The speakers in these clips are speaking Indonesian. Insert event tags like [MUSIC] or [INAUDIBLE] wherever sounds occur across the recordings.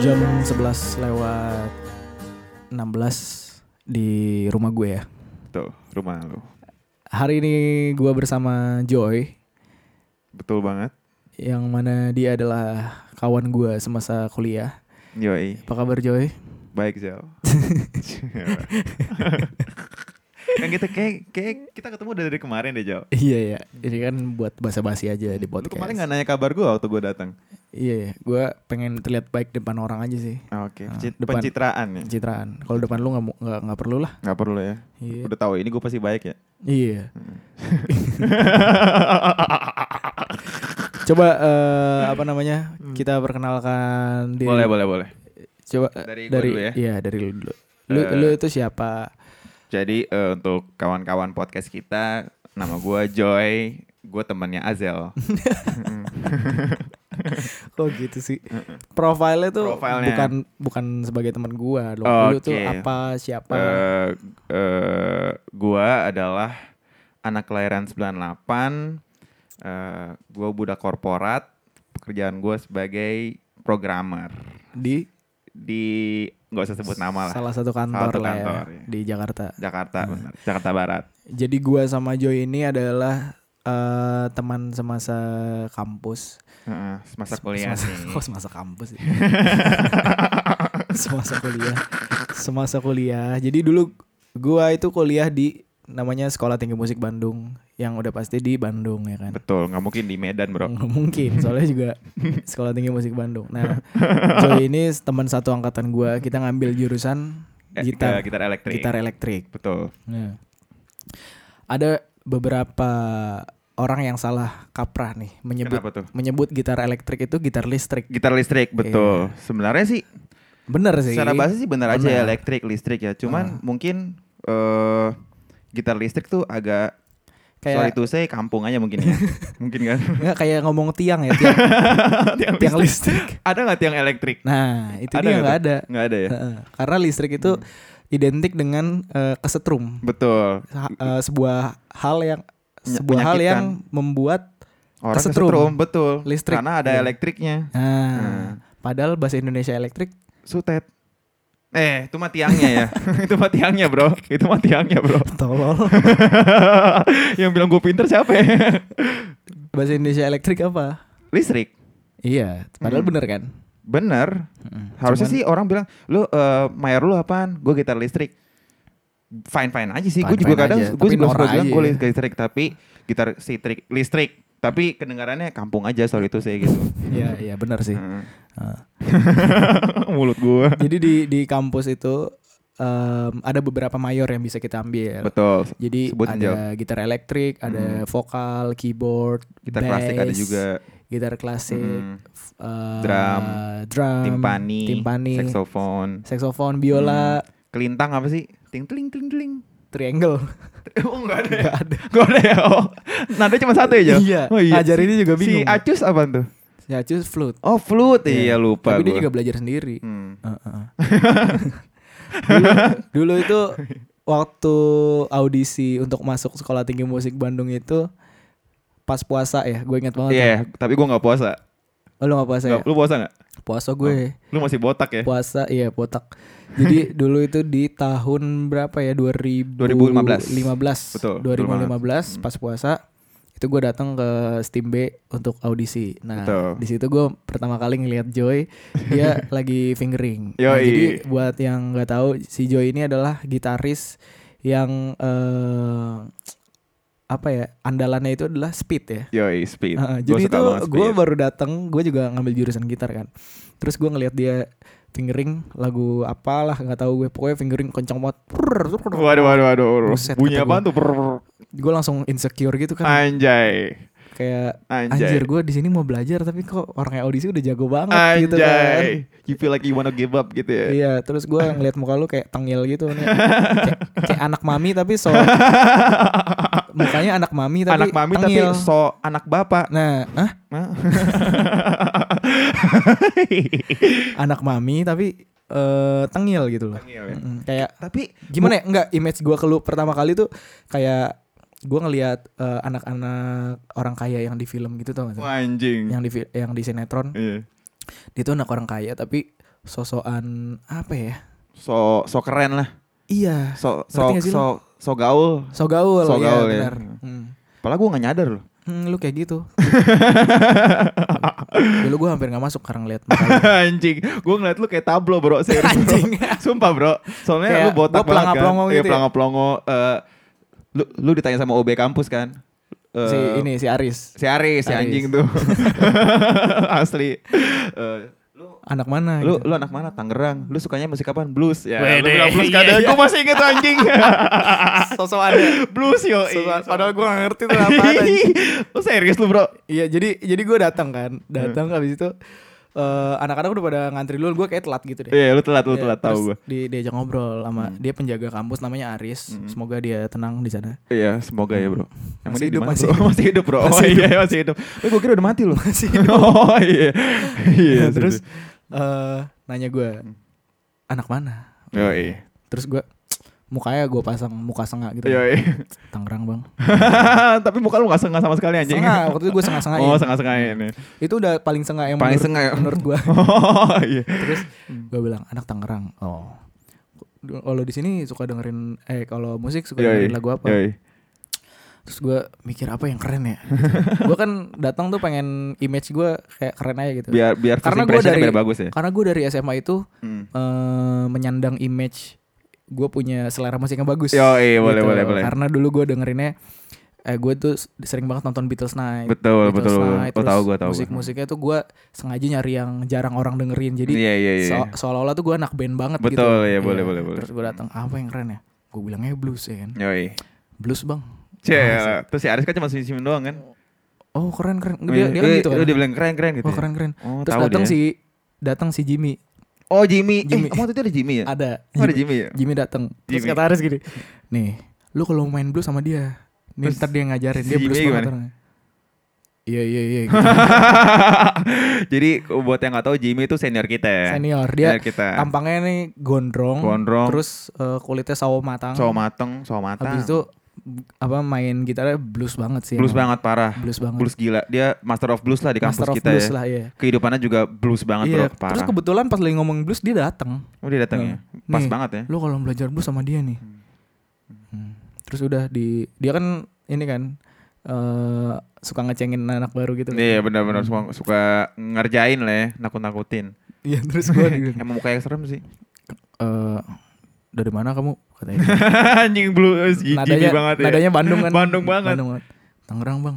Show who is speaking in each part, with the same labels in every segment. Speaker 1: Jam 11 lewat 16 di rumah gue ya.
Speaker 2: Tuh, rumah lu.
Speaker 1: Hari ini gue bersama Joy
Speaker 2: Betul banget.
Speaker 1: yang mana dia adalah kawan gue semasa kuliah.
Speaker 2: Yoi.
Speaker 1: Apa kabar Joy?
Speaker 2: Baik, Zel. kan kita kayak, kayak kita ketemu udah dari kemarin deh, Jel.
Speaker 1: [LAUGHS] Iya ya, ini kan buat basa-basi aja di
Speaker 2: Lu
Speaker 1: podcast.
Speaker 2: kemarin gak nanya kabar gue waktu gue datang.
Speaker 1: Iya ya, gue pengen terlihat baik depan orang aja sih.
Speaker 2: Oke,
Speaker 1: Ah,
Speaker 2: penci-
Speaker 1: depan.
Speaker 2: pencitraan ya.
Speaker 1: Pencitraan. Kalau depan lu nggak mu- nggak nggak perlu lah.
Speaker 2: Gak perlu ya.
Speaker 1: Iya.
Speaker 2: Udah tahu ini gue pasti baik ya.
Speaker 1: Iya. Coba eh, apa namanya? Kita perkenalkan diri.
Speaker 2: Hmm. [LAUGHS] boleh, boleh, boleh.
Speaker 1: Coba eh,
Speaker 2: Dari
Speaker 1: dari
Speaker 2: gua dulu ya.
Speaker 1: Iya, dari lu dulu. Lu,
Speaker 2: Eh.
Speaker 1: lu itu siapa?
Speaker 2: Jadi eh, untuk kawan-kawan podcast kita, nama gue Joy, gue temannya Azel.
Speaker 1: Kok gitu sih? Profilnya tuh
Speaker 2: Profilnya.
Speaker 1: bukan bukan sebagai teman gua. Lu, lu tuh
Speaker 2: Oke.
Speaker 1: apa, siapa?
Speaker 2: eh eh, gua adalah anak kelahiran 98. eh gua budak korporat. Pekerjaan gua sebagai programmer
Speaker 1: di
Speaker 2: di nggak usah sebut nama lah.
Speaker 1: salah satu kantor
Speaker 2: Salah satu
Speaker 1: lah ya,
Speaker 2: kantor, ya.
Speaker 1: di Jakarta.
Speaker 2: Jakarta, benar. Jakarta Barat.
Speaker 1: Jadi gua sama Joy ini adalah eh, teman semasa kampus.
Speaker 2: Heeh, semasa kuliah
Speaker 1: semasa,
Speaker 2: sih.
Speaker 1: [LAUGHS] kok semasa kampus sih? [LAUGHS] semasa kuliah. Semasa kuliah. Jadi dulu gua itu kuliah di namanya Sekolah Tinggi Musik Bandung yang udah pasti di Bandung ya kan.
Speaker 2: Betul, nggak mungkin di Medan bro.
Speaker 1: Nggak mungkin soalnya
Speaker 2: [LAUGHS]
Speaker 1: juga Sekolah Tinggi Musik Bandung. Nah, Joy ini teman satu angkatan gua, kita ngambil jurusan
Speaker 2: Eh,
Speaker 1: gitar
Speaker 2: gitar elektrik. Iya.
Speaker 1: gitar elektrik.
Speaker 2: Betul.
Speaker 1: Nah. Ada beberapa orang yang salah kaprah nih menyebut
Speaker 2: Kenapa tuh?
Speaker 1: menyebut gitar elektrik itu gitar listrik.
Speaker 2: Gitar listrik, betul. Sebenarnya sih
Speaker 1: Bener Iya. sih.
Speaker 2: Secara bahasa sih benar aja ya
Speaker 1: Benar.
Speaker 2: elektrik listrik ya. Cuman mungkin eh gitar listrik tuh agak
Speaker 1: Kayak-
Speaker 2: sorry tuh saya kampung aja mungkin
Speaker 1: [LAUGHS]
Speaker 2: ya. mungkin kan.
Speaker 1: Nggak kayak ngomong tiang ya, tiang,
Speaker 2: [LAUGHS] tiang
Speaker 1: tiang listrik.
Speaker 2: Ada nggak tiang elektrik?
Speaker 1: Nah, itu dia nggak
Speaker 2: nggak tuh? Hmm.
Speaker 1: ada.
Speaker 2: Nggak ada ya.
Speaker 1: Heeh. Karena listrik itu identik dengan eh, kesetrum.
Speaker 2: Betul.
Speaker 1: Ha- eh, sebuah hal yang
Speaker 2: Menye-
Speaker 1: sebuah hal
Speaker 2: menyakitkan.
Speaker 1: yang membuat
Speaker 2: Orang
Speaker 1: Kesetrum.
Speaker 2: kesetrum, betul.
Speaker 1: Listrik.
Speaker 2: Karena ada
Speaker 1: Iya.
Speaker 2: elektriknya. Hmm.
Speaker 1: nah, padahal bahasa Indonesia elektrik [LAUGHS]
Speaker 2: Sutet. Eh, itu mah tiangnya ya. [LAUGHS] itu mah tiangnya, Bro. Itu mah tiangnya, Bro. [LAUGHS]
Speaker 1: tolol.
Speaker 2: Yang bilang gue pinter siapa ya? [LAUGHS]
Speaker 1: bahasa Indonesia elektrik apa?
Speaker 2: listrik.
Speaker 1: Iya, padahal
Speaker 2: Hmm.
Speaker 1: bener kan?
Speaker 2: Bener.
Speaker 1: Hmm.
Speaker 2: Harusnya sih orang bilang, lu eh mayor lu apaan? Gue gitar listrik. Fine fine aja sih. Gue
Speaker 1: Fine-fine
Speaker 2: juga kadang
Speaker 1: aja,
Speaker 2: gue
Speaker 1: tapi
Speaker 2: juga suka
Speaker 1: norak
Speaker 2: bilang
Speaker 1: aja
Speaker 2: gue
Speaker 1: ya.
Speaker 2: gitar listrik tapi gitar listrik listrik. Tapi kedengarannya kampung aja soal itu saya
Speaker 1: [LAUGHS]
Speaker 2: gitu.
Speaker 1: Iya, iya bener sih.
Speaker 2: Heeh. [LAUGHS]
Speaker 1: Heeh.
Speaker 2: Mulut gue.
Speaker 1: Jadi di di kampus itu em, ada beberapa mayor yang bisa kita ambil.
Speaker 2: Betul.
Speaker 1: Jadi
Speaker 2: Sebutin, Jel.
Speaker 1: ada gitar elektrik, ada vokal, keyboard,
Speaker 2: Hmm. gitar klasik ada
Speaker 1: bass,
Speaker 2: juga
Speaker 1: gitar klasik,
Speaker 2: Mm.
Speaker 1: f- eh,
Speaker 2: Drum,
Speaker 1: drum,
Speaker 2: timpani,
Speaker 1: timpani,
Speaker 2: saxophone, Hmm.
Speaker 1: saxophone, biola,
Speaker 2: kelintang apa sih? Ting ting ting ting. [LAUGHS]
Speaker 1: triangle. [LAUGHS]
Speaker 2: Oh enggak ada. [LAUGHS] Enggak ada. Enggak ada ya. Oh. Nada cuma satu ya, Jel?
Speaker 1: Iya,
Speaker 2: Oh,
Speaker 1: ngajarinnya juga bingung.
Speaker 2: Si Acus apa tuh?
Speaker 1: Ya, just flute.
Speaker 2: Oh, flute. Iya,
Speaker 1: Iya.
Speaker 2: lupa
Speaker 1: Tapi dia
Speaker 2: gua.
Speaker 1: juga belajar sendiri.
Speaker 2: Hmm.
Speaker 1: Heeh. dulu, dulu
Speaker 2: [LAUGHS]
Speaker 1: itu waktu audisi untuk masuk sekolah tinggi musik Bandung itu pas puasa ya, gue ingat banget.
Speaker 2: Iya,
Speaker 1: ya.
Speaker 2: tapi gue nggak puasa.
Speaker 1: Oh, lu gak puasa ya?
Speaker 2: Nggak- Lu puasa Oh. nggak?
Speaker 1: Puasa gue.
Speaker 2: Lu masih botak ya?
Speaker 1: Puasa iya botak.
Speaker 2: [LAUGHS]
Speaker 1: Jadi dulu itu di tahun berapa ya? 2000
Speaker 2: 2015.
Speaker 1: 15.
Speaker 2: Betul,
Speaker 1: 2015 pas puasa itu gue datang ke Steam B untuk audisi. Nah,
Speaker 2: Betul.
Speaker 1: di situ gue pertama kali ngelihat Joy
Speaker 2: [LAUGHS]
Speaker 1: dia lagi fingering. Nah,
Speaker 2: Yoi.
Speaker 1: jadi buat yang nggak tahu si Joy ini adalah gitaris yang eh, apa ya? Andalannya itu adalah speed ya.
Speaker 2: Yoi, speed.
Speaker 1: Heeh,
Speaker 2: Gitu. Gua
Speaker 1: jadi
Speaker 2: suka
Speaker 1: itu
Speaker 2: banget
Speaker 1: gue
Speaker 2: speed.
Speaker 1: baru datang, gue juga ngambil jurusan gitar kan. Terus gue ngelihat dia fingering lagu apalah nggak tahu gue pokoknya fingering kencang banget.
Speaker 2: Waduh, waduh, waduh. waduh.
Speaker 1: Buset,
Speaker 2: Bunyi
Speaker 1: kata
Speaker 2: apaan
Speaker 1: gua.
Speaker 2: tuh? Prrr, prrr.
Speaker 1: Gue langsung insecure gitu kan.
Speaker 2: Anjay.
Speaker 1: Kayak
Speaker 2: Anjay.
Speaker 1: anjir gue di sini mau belajar tapi kok orangnya audisi udah jago banget gitu kan.
Speaker 2: Anjay. You feel like you wanna give up gitu ya.
Speaker 1: Iya, terus gue ngeliat muka lu kayak tengil gitu nih. Kayak, kayak anak mami tapi
Speaker 2: [LAUGHS]
Speaker 1: so mukanya anak mami tapi
Speaker 2: anak mami tapi
Speaker 1: tengil.
Speaker 2: so anak bapak.
Speaker 1: Nah, ah, [LAUGHS]
Speaker 2: Nah.
Speaker 1: anak mami tapi eh, tengil gitu loh.
Speaker 2: Tengil ya.
Speaker 1: Mm, Kayak
Speaker 2: tapi
Speaker 1: gimana ya enggak image gua ke lu pertama kali tuh kayak gua ngelihat eh, anak-anak orang kaya yang di film gitu tau gak sih
Speaker 2: Wah, anjing.
Speaker 1: yang di fi- yang di sinetron
Speaker 2: Iya.
Speaker 1: dia tuh anak orang kaya tapi sosokan apa ya?
Speaker 2: so so keren lah
Speaker 1: Iya.
Speaker 2: so so
Speaker 1: Ngerti nggak sih lu?
Speaker 2: so, so gaul
Speaker 1: So gaul, ya,
Speaker 2: So gaul, ya.
Speaker 1: benar. Hmm.
Speaker 2: padahal gue nggak nyadar
Speaker 1: [LAUGHS]
Speaker 2: loh
Speaker 1: Hmm, lu kayak gitu. Dulu gue hampir nggak masuk karena ngeliat muka
Speaker 2: [LAUGHS]
Speaker 1: lu.
Speaker 2: anjing gue ngeliat lu kayak tablo
Speaker 1: [LAUGHS]
Speaker 2: bro serius bro.
Speaker 1: anjing.
Speaker 2: sumpah bro soalnya
Speaker 1: Kayak
Speaker 2: lu botak
Speaker 1: gua pelangap
Speaker 2: banget kan
Speaker 1: pelongo
Speaker 2: Iya,
Speaker 1: gitu ya?
Speaker 2: pelangap pelongo. Eh, lu lu ditanya sama OB kampus kan Eh,
Speaker 1: si ini si Aris.
Speaker 2: si Aris, si
Speaker 1: Aris.
Speaker 2: anjing tuh [LAUGHS] asli Eh,
Speaker 1: Anak mana?
Speaker 2: lu
Speaker 1: gitu.
Speaker 2: lu anak mana Tangerang lu sukanya musik apaan blues ya
Speaker 1: Wede.
Speaker 2: lu bilang blues
Speaker 1: Iya,
Speaker 2: kan
Speaker 1: iya.
Speaker 2: gue masih inget
Speaker 1: [LAUGHS]
Speaker 2: anjing
Speaker 1: Sosokan
Speaker 2: [LAUGHS] Oh,
Speaker 1: ya.
Speaker 2: blues yo
Speaker 1: Sosokan. Padahal gue gak ngerti tuh apa
Speaker 2: [LAUGHS] lu serius lu bro
Speaker 1: Iya jadi jadi gue datang kan,
Speaker 2: Hmm.
Speaker 1: datang habis itu eh, anak-anak udah pada ngantri dulu, gue kayak telat gitu deh.
Speaker 2: Iya lu telat lu
Speaker 1: Iya,
Speaker 2: telat
Speaker 1: terus
Speaker 2: tahu Hmm. gue.
Speaker 1: Di, diajak ngobrol sama dia penjaga kampus namanya Aris.
Speaker 2: Hmm.
Speaker 1: Semoga dia tenang di sana.
Speaker 2: Iya semoga ya bro. Emang
Speaker 1: Masih
Speaker 2: dia di
Speaker 1: hidup,
Speaker 2: mana,
Speaker 1: masih
Speaker 2: bro?
Speaker 1: hidup.
Speaker 2: masih hidup bro. Oh
Speaker 1: Masih
Speaker 2: [LAUGHS] iya masih hidup. Eh gue kira udah mati
Speaker 1: [LAUGHS]
Speaker 2: lu.
Speaker 1: Masih
Speaker 2: [LAUGHS] oh iya iya Hmm.
Speaker 1: Nah, terus
Speaker 2: sudah.
Speaker 1: eh nanya gue anak mana?
Speaker 2: Yo iya
Speaker 1: Terus gue mukanya gue pasang muka sengak gitu.
Speaker 2: yo iya.
Speaker 1: Tangerang bang.
Speaker 2: [LAUGHS] Tapi muka lu nggak sengah sama sekali anjing.
Speaker 1: Sengak waktu itu gue sengak sengain
Speaker 2: Oh sengah sengah
Speaker 1: Iya.
Speaker 2: ini.
Speaker 1: Itu udah paling sengak yang
Speaker 2: Paling
Speaker 1: menurut,
Speaker 2: ya. sengah.
Speaker 1: menurut gue.
Speaker 2: Oh [LAUGHS] iya.
Speaker 1: Terus gue bilang anak Tangerang. Oh. Kalau di sini suka dengerin eh kalau musik suka
Speaker 2: Yo iya.
Speaker 1: dengerin lagu apa?
Speaker 2: Yo, iya.
Speaker 1: Terus gue mikir apa yang keren ya? gue kan datang tuh pengen image gue kayak keren aja gitu.
Speaker 2: Biar biar first
Speaker 1: Karena gua
Speaker 2: impression-nya
Speaker 1: dari-
Speaker 2: biar bagus ya.
Speaker 1: Karena gue dari SMA itu
Speaker 2: Hmm.
Speaker 1: eh, menyandang image gue punya selera musik yang bagus. Gitu.
Speaker 2: Yo iya boleh boleh boleh.
Speaker 1: Karena dulu gue dengerinnya eh gue tuh s- sering banget nonton Beatles Night.
Speaker 2: Betul
Speaker 1: Beatles
Speaker 2: betul. betul.
Speaker 1: Night,
Speaker 2: Oh
Speaker 1: terus
Speaker 2: tahu gue tahu. gua.
Speaker 1: Musik-musiknya tuh gue sengaja nyari yang jarang orang dengerin. Jadi
Speaker 2: Iya iya iya.
Speaker 1: so- seolah-olah tuh gue anak band banget gitu.
Speaker 2: Betul, iya,
Speaker 1: Iya.
Speaker 2: boleh, boleh, boleh.
Speaker 1: Terus gue datang apa yang keren ya? Gue bilangnya blues ya kan.
Speaker 2: Yo iya.
Speaker 1: Blues bang.
Speaker 2: Cie,
Speaker 1: Asik.
Speaker 2: terus si Aris kan cuma senyum doang kan?
Speaker 1: Oh keren keren. Dia, dia kan
Speaker 2: Eh,
Speaker 1: gitu kan.
Speaker 2: eh, Dia bilang keren keren gitu.
Speaker 1: Wah
Speaker 2: ya?
Speaker 1: keren keren.
Speaker 2: Oh,
Speaker 1: Terus
Speaker 2: tahu
Speaker 1: datang
Speaker 2: dia.
Speaker 1: si datang si Jimmy.
Speaker 2: Oh Jimmy.
Speaker 1: Jimmy.
Speaker 2: Eh, emang waktu itu ada Jimmy ya?
Speaker 1: Ada.
Speaker 2: Oh, ada Jimmy ya? [LAUGHS]
Speaker 1: Jimmy datang. Terus
Speaker 2: Jimmy.
Speaker 1: kata Aris gini, nih, lu kalau main blues sama dia, nih
Speaker 2: Terus
Speaker 1: ntar dia ngajarin
Speaker 2: si
Speaker 1: dia
Speaker 2: Jimmy
Speaker 1: blues banget
Speaker 2: gimana?
Speaker 1: orangnya." Iya iya iya. gitu.
Speaker 2: Jadi buat yang nggak tahu Jimmy itu senior kita [LAUGHS] ya.
Speaker 1: Senior dia
Speaker 2: Senior kita.
Speaker 1: tampangnya nih gondrong,
Speaker 2: Gondrong.
Speaker 1: terus eh, kulitnya sawo matang.
Speaker 2: Sawo mateng, sawo matang.
Speaker 1: Habis itu b- apa main gitarnya blues banget sih.
Speaker 2: blues
Speaker 1: emang.
Speaker 2: banget parah.
Speaker 1: Blues banget.
Speaker 2: Blues gila. Dia master of blues lah di kampus
Speaker 1: Master of
Speaker 2: kita
Speaker 1: blues
Speaker 2: ya.
Speaker 1: lah iya.
Speaker 2: Kehidupannya juga blues banget
Speaker 1: Iya,
Speaker 2: bro, parah.
Speaker 1: terus kebetulan pas lagi ngomong blues dia datang.
Speaker 2: oh, dia datang ya.
Speaker 1: Nah,
Speaker 2: Pas
Speaker 1: nih,
Speaker 2: banget ya.
Speaker 1: Lu kalau belajar blues sama dia nih. Hmm. Terus udah di dia kan ini kan eh suka ngecengin anak baru gitu.
Speaker 2: Iya benar-benar suka, suka ngerjain lah ya, nakut-nakutin.
Speaker 1: Iya, terus
Speaker 2: [LAUGHS]
Speaker 1: gue di
Speaker 2: Emang mukanya serem sih. [LAUGHS]
Speaker 1: Eh, dari mana kamu katanya.
Speaker 2: [LAUGHS] Anjing blues Jimmy
Speaker 1: nadanya
Speaker 2: banget ya.
Speaker 1: nadanya Bandung kan.
Speaker 2: [LAUGHS] Bandung banget.
Speaker 1: Bandung banget. Tangerang, Bang.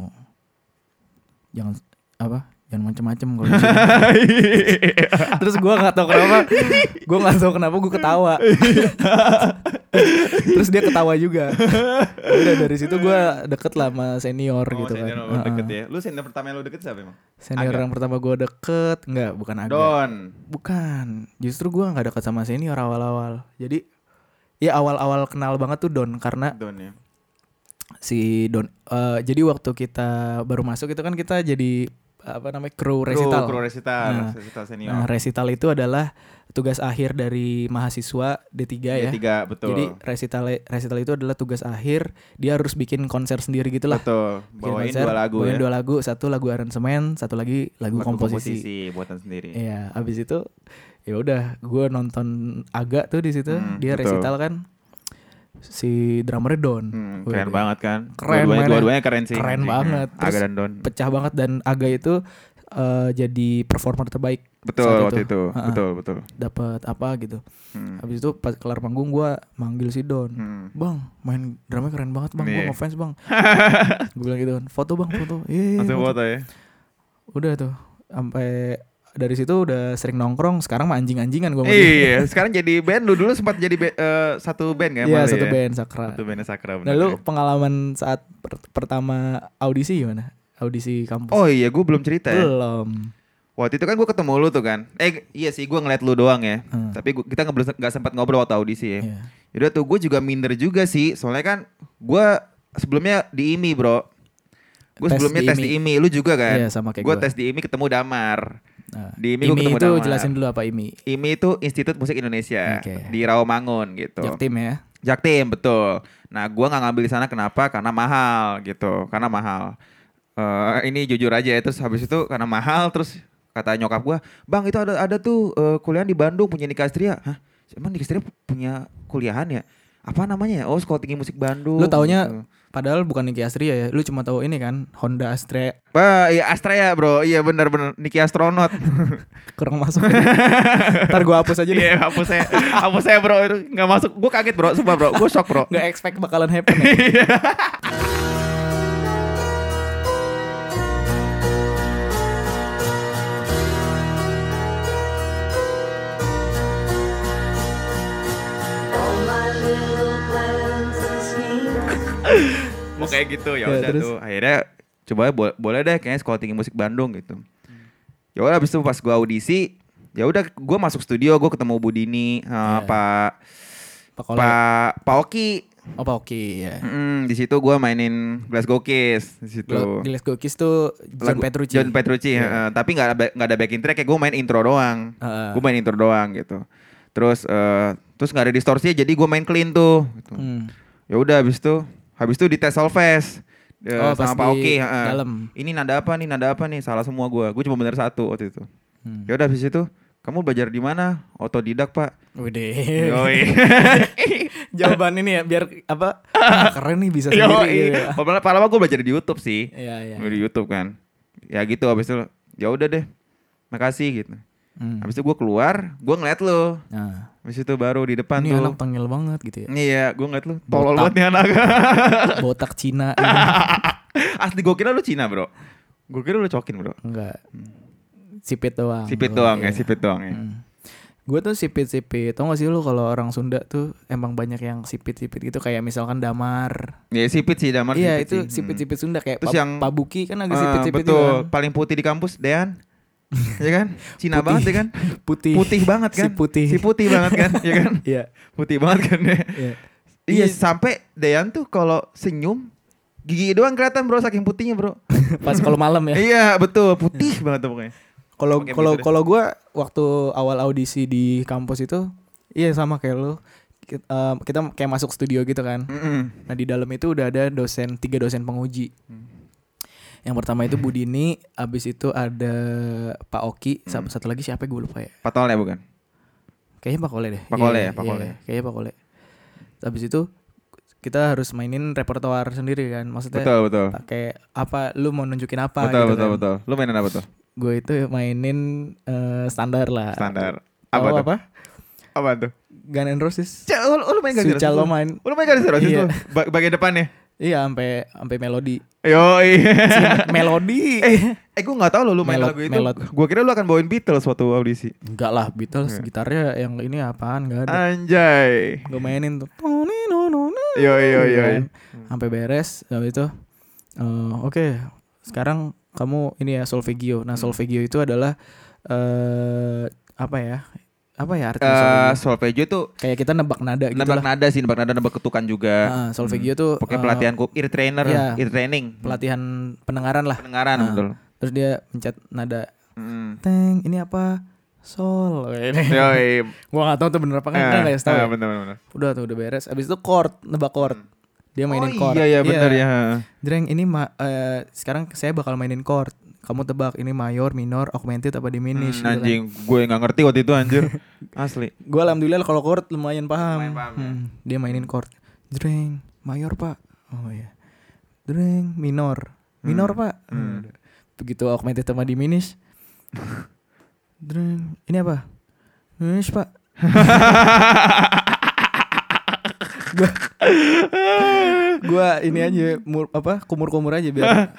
Speaker 1: Oh. Jangan apa? Jangan macem-macem kalau di sini. [LAUGHS] Terus gue gak tau kenapa Gue gak tau kenapa gue
Speaker 2: [LAUGHS]
Speaker 1: ketawa Terus dia ketawa juga Udah dari situ gue
Speaker 2: [LAUGHS]
Speaker 1: deket lah sama senior
Speaker 2: Oh,
Speaker 1: gitu
Speaker 2: senior
Speaker 1: kan
Speaker 2: lu deket
Speaker 1: Heeh.
Speaker 2: ya. Lu senior pertama yang lu deket siapa emang?
Speaker 1: Senior
Speaker 2: Agak.
Speaker 1: yang pertama gue deket Enggak bukan agak
Speaker 2: Don.
Speaker 1: Bukan Justru gue gak deket sama senior awal-awal Jadi Ya awal-awal kenal banget tuh Don Karena
Speaker 2: Don ya.
Speaker 1: si Don eh, Jadi waktu kita baru masuk itu kan kita jadi Apa namanya Crew recital
Speaker 2: Kru, kru resital,
Speaker 1: Nah.
Speaker 2: resital senior.
Speaker 1: Nah, resital itu adalah tugas akhir dari mahasiswa D3 ya.
Speaker 2: ya. Tiga, betul.
Speaker 1: Jadi resital resital itu adalah tugas akhir, dia harus bikin konser sendiri gitu lah.
Speaker 2: betul.
Speaker 1: Bikin
Speaker 2: [LAUGHS] Bawain
Speaker 1: konser,
Speaker 2: dua lagu
Speaker 1: bawain
Speaker 2: ya.
Speaker 1: dua lagu, satu lagu aransemen, satu lagi lagu,
Speaker 2: Lagu
Speaker 1: komposisi.
Speaker 2: buatan sendiri.
Speaker 1: Iya, habis itu ya udah gue nonton agak tuh di situ,
Speaker 2: Hmm,
Speaker 1: dia
Speaker 2: betul.
Speaker 1: resital kan. Si drummernya Don.
Speaker 2: Hmm,
Speaker 1: Wih, iya.
Speaker 2: keren banget kan?
Speaker 1: Keren
Speaker 2: dua-duanya,
Speaker 1: banget.
Speaker 2: dua-duanya keren sih.
Speaker 1: Keren
Speaker 2: anjing.
Speaker 1: banget.
Speaker 2: Nah,
Speaker 1: Terus-
Speaker 2: Aga dan Don.
Speaker 1: Pecah banget dan Aga itu eh, jadi performer terbaik
Speaker 2: Betul
Speaker 1: saat itu.
Speaker 2: waktu itu.
Speaker 1: Ha-ha.
Speaker 2: Betul, betul.
Speaker 1: dapat apa gitu.
Speaker 2: Hmm.
Speaker 1: Habis itu pas kelar panggung gua manggil si Don.
Speaker 2: Hmm.
Speaker 1: Bang, main drama keren banget bang, gue
Speaker 2: Iya.
Speaker 1: ngefans
Speaker 2: [LAUGHS]
Speaker 1: bang. gue bilang gitu kan, foto bang, foto. Iya, iya,
Speaker 2: Langsung
Speaker 1: foto.
Speaker 2: foto ya.
Speaker 1: Udah tuh, sampai dari situ udah sering nongkrong. Sekarang mah anjing-anjingan gue.
Speaker 2: Iya, sekarang jadi band lu dulu sempat jadi be- eh, satu band kan?
Speaker 1: Iya,
Speaker 2: malah
Speaker 1: satu
Speaker 2: ya?
Speaker 1: band sakra.
Speaker 2: Satu bandnya Sakra.
Speaker 1: Nah
Speaker 2: bener
Speaker 1: lu
Speaker 2: ya.
Speaker 1: pengalaman saat per- pertama audisi gimana? Audisi kampus?
Speaker 2: Oh iya, gue belum cerita ya.
Speaker 1: Belum.
Speaker 2: Waktu itu kan gue ketemu lu tuh kan. Eh iya sih, gue ngeliat lu doang ya.
Speaker 1: Hmm.
Speaker 2: Tapi gua, kita nggak nggak sempat ngobrol waktu audisi ya.
Speaker 1: Iya.
Speaker 2: Yaudah tuh gue juga minder juga sih Soalnya kan gue sebelumnya di IMI bro Gue
Speaker 1: Tes
Speaker 2: sebelumnya
Speaker 1: di
Speaker 2: tes di IMI Lu juga kan?
Speaker 1: Iya, sama kayak
Speaker 2: Gue
Speaker 1: gua.
Speaker 2: tes di IMI ketemu Damar
Speaker 1: Nah,
Speaker 2: Di IMI gua
Speaker 1: IMI
Speaker 2: ketemu
Speaker 1: itu
Speaker 2: Damar.
Speaker 1: jelasin dulu apa IMI.
Speaker 2: IMI itu Institut Musik Indonesia
Speaker 1: Oke.
Speaker 2: Di Rawamangun gitu
Speaker 1: Jaktim ya.
Speaker 2: Jaktim betul Nah gue nggak ngambil di sana kenapa? Karena mahal gitu Karena mahal Eh Ini jujur aja ya Terus habis itu karena mahal Terus kata nyokap gua bang itu ada ada tuh eh, kuliahan di Bandung punya Nika Astria hah emang Nika Astria punya kuliahan ya apa namanya ya? oh sekolah tinggi musik Bandung
Speaker 1: Lu taunya-
Speaker 2: Gitu.
Speaker 1: Padahal bukan Niki Astria ya. Lu cuma tahu ini kan Honda Astrea
Speaker 2: Wah, iya Astra ya bro, iya benar-benar Niki
Speaker 1: [LAUGHS]
Speaker 2: astronot.
Speaker 1: kurang
Speaker 2: [LAUGHS]
Speaker 1: masuk. Ntar gua hapus aja deh.
Speaker 2: Iya, hapus saya, hapus saya bro, itu nggak masuk. Gue kaget bro, sumpah bro, gue shock bro.
Speaker 1: Nggak expect bakalan happen
Speaker 2: [LAUGHS]
Speaker 1: ya.
Speaker 3: All my little plans and schemes.
Speaker 2: Mau kayak gitu ya
Speaker 1: Ya,
Speaker 2: udah
Speaker 1: terus?
Speaker 2: tuh. Akhirnya coba bo- boleh deh, kayaknya sekolah tinggi musik Bandung gitu. Ya udah, abis itu pas gue audisi, ya udah gue masuk studio, gue ketemu Bu Dini, eh,
Speaker 1: Iya.
Speaker 2: Pak
Speaker 1: Pak Kole.
Speaker 2: Pak Pak Oki.
Speaker 1: Oh, Pak Oki ya.
Speaker 2: Mm, di situ gue mainin Glasgow Kiss di situ.
Speaker 1: Lo- Gilles Gokis tuh John
Speaker 2: Gitu. Lagu-
Speaker 1: Petrucci. Iya.
Speaker 2: John Petrucci, heeh. tapi nggak ada ba- nggak ada backing track ya. Gue main intro doang.
Speaker 1: Heeh.
Speaker 2: Gue main intro doang gitu. Terus eh, terus nggak ada distorsi, jadi gue main clean tuh. Gitu.
Speaker 1: Hmm.
Speaker 2: Ya udah habis itu habis itu dites solfes eh,
Speaker 1: Oh, pas
Speaker 2: sama
Speaker 1: di
Speaker 2: Pak Oki. heeh.
Speaker 1: dalam.
Speaker 2: Ini nada apa nih? Nada apa nih? Salah semua gue. Gue cuma bener satu waktu itu.
Speaker 1: Hmm.
Speaker 2: Ya udah habis itu kamu belajar di mana? Otodidak pak.
Speaker 1: Wede. [LAUGHS]
Speaker 2: Yoi. [LAUGHS]
Speaker 1: Jawaban ini ya biar apa? "Ah, keren nih bisa sendiri.
Speaker 2: Yoi.
Speaker 1: gitu ya.
Speaker 2: Padahal padahal gue belajar di YouTube sih.
Speaker 1: Iya, iya.
Speaker 2: Di YouTube kan. Ya gitu habis itu ya udah deh. Makasih gitu.
Speaker 1: Hmm.
Speaker 2: Habis itu gue keluar, gue ngeliat lo.
Speaker 1: Nah,
Speaker 2: Habis itu baru di depan
Speaker 1: ini
Speaker 2: tuh.
Speaker 1: anak tengil banget gitu
Speaker 2: [LAUGHS]
Speaker 1: ya.
Speaker 2: Iya, gue ngeliat lo. Tolol
Speaker 1: Botak.
Speaker 2: banget nih anak. [LAUGHS]
Speaker 1: Botak Cina. gitu.
Speaker 2: Asli gue kira lu Cina bro. Gue kira lu cokin bro.
Speaker 1: Enggak. Sipit doang.
Speaker 2: Sipit
Speaker 1: Gua,
Speaker 2: doang
Speaker 1: iya.
Speaker 2: ya, sipit doang ya.
Speaker 1: Gue tuh sipit-sipit. Tau gak sih lu kalau orang Sunda tuh emang banyak yang sipit-sipit gitu kayak misalkan damar.
Speaker 2: Ya sipit sih damar.
Speaker 1: iya,
Speaker 2: sipit
Speaker 1: itu
Speaker 2: sih. Hmm.
Speaker 1: sipit-sipit Sunda kayak
Speaker 2: Terus
Speaker 1: pa-
Speaker 2: yang-
Speaker 1: Pabuki kan agak
Speaker 2: Ah,
Speaker 1: sipit-sipit
Speaker 2: betul.
Speaker 1: juga kan.
Speaker 2: Paling putih di kampus,
Speaker 1: [LAUGHS]
Speaker 2: Dean. ya kan? Cina
Speaker 1: Putih.
Speaker 2: banget ya kan?
Speaker 1: Putih.
Speaker 2: Putih banget kan?
Speaker 1: Si putih.
Speaker 2: Si putih banget kan? ya
Speaker 1: [LAUGHS]
Speaker 2: kan?
Speaker 1: Iya.
Speaker 2: Putih banget kan ya?
Speaker 1: Iya.
Speaker 2: Iya, sampai Dean tuh kalau senyum gigi doang kelihatan bro saking putihnya
Speaker 1: [LAUGHS]
Speaker 2: bro.
Speaker 1: Pas kalau malam ya.
Speaker 2: Iya betul putih banget tuh pokoknya.
Speaker 1: Kalau
Speaker 2: Oke,
Speaker 1: kalau
Speaker 2: begitu deh.
Speaker 1: kalau gue waktu awal audisi di kampus itu, iya sama kayak lo. Kita, kita kayak masuk studio gitu kan.
Speaker 2: Mm-mm.
Speaker 1: Nah di dalam itu udah ada dosen tiga dosen penguji.
Speaker 2: Hmm.
Speaker 1: Yang pertama
Speaker 2: [CLEARS THROAT]
Speaker 1: itu Budini, abis itu ada Pak Oki,
Speaker 2: Hmm.
Speaker 1: sama satu lagi siapa gue lupa ya.
Speaker 2: Patolnya bukan?
Speaker 1: Kayaknya Pak Kole deh.
Speaker 2: Pak
Speaker 1: Iya,
Speaker 2: Kole ya,
Speaker 1: iya,
Speaker 2: Pak
Speaker 1: iya,
Speaker 2: Kole.
Speaker 1: Kayaknya Pak Kole. Abis itu kita harus mainin repertoar sendiri kan, maksudnya
Speaker 2: Betul betul.
Speaker 1: pakai apa? Lu mau nunjukin apa?
Speaker 2: betul
Speaker 1: gitu
Speaker 2: betul
Speaker 1: kan.
Speaker 2: betul. Lu mainan apa tuh?
Speaker 1: Gue itu mainin eh, standar lah.
Speaker 2: Standar.
Speaker 1: Tahu
Speaker 2: Apa tuh?
Speaker 1: apa?
Speaker 2: Apa tuh?
Speaker 1: Gun and Roses.
Speaker 2: Cek, lu, lu main garis
Speaker 1: Suca
Speaker 2: lu?
Speaker 1: lo main.
Speaker 2: Lu main garis roses
Speaker 1: Iya.
Speaker 2: lu? Ba- bagian depannya.
Speaker 1: Iya, sampai sampai melodi.
Speaker 2: Yoi.
Speaker 1: melodi.
Speaker 2: eh, [LAUGHS] eh gue nggak tahu lo lu main
Speaker 1: Melot-
Speaker 2: lagu itu.
Speaker 1: melot.
Speaker 2: Gue kira lu akan bawain Beatles waktu audisi.
Speaker 1: Enggak lah, Beatles
Speaker 2: Iya.
Speaker 1: gitarnya yang ini apaan enggak ada.
Speaker 2: Ah. Anjay.
Speaker 1: Gue mainin tuh. Tuni, nu, nu, nu,
Speaker 2: Yo yo
Speaker 1: gitu
Speaker 2: yo.
Speaker 1: kan. Sampai beres habis itu eh, oke, sekarang kamu ini ya solfeggio.
Speaker 2: Hmm.
Speaker 1: Nah, solfeggio itu adalah eh apa ya? Apa ya arti
Speaker 2: Eh,
Speaker 1: solfeggio?
Speaker 2: solfeggio itu
Speaker 1: Kayak kita nebak nada gitu
Speaker 2: nebak
Speaker 1: lah.
Speaker 2: nada sih, nebak nada, nebak ketukan juga.
Speaker 1: Ah, solfeggio tuh
Speaker 2: Pakai
Speaker 1: eh,
Speaker 2: pelatihan ku ear trainer,
Speaker 1: iya.
Speaker 2: ear training,
Speaker 1: pelatihan pendengaran lah.
Speaker 2: pendengaran
Speaker 1: Ah.
Speaker 2: betul.
Speaker 1: Terus dia mencet nada
Speaker 2: Mm.
Speaker 1: [LAUGHS] teng ini apa sol
Speaker 2: Yo, iya.
Speaker 1: gua nggak tahu tuh bener apa kan
Speaker 2: Eh,
Speaker 1: kan nggak tahu
Speaker 2: eh,
Speaker 1: ya.
Speaker 2: bener, bener, bener.
Speaker 1: udah tuh udah beres abis itu chord nebak chord dia mainin
Speaker 2: oh,
Speaker 1: chord
Speaker 2: iya iya bener ya.
Speaker 1: Dreng ini ma- eh, sekarang saya bakal mainin chord kamu tebak ini mayor minor augmented apa diminished gitu kan.
Speaker 2: Hmm, anjing, gue nggak ngerti waktu itu
Speaker 1: [LAUGHS]
Speaker 2: anjir. Asli. [LAUGHS]
Speaker 1: gue alhamdulillah kalau chord lumayan paham,
Speaker 2: Lumayan paham, ya.
Speaker 1: Hmm, dia mainin chord Dreng mayor pak oh iya Dreng minor minor pak
Speaker 2: Hmm.
Speaker 1: Udah. begitu augmented sama
Speaker 2: [LAUGHS]
Speaker 1: diminished Dreng ini apa diminished pak gua gua ini aja mur- apa kumur-kumur aja
Speaker 2: [LAUGHS]
Speaker 1: biar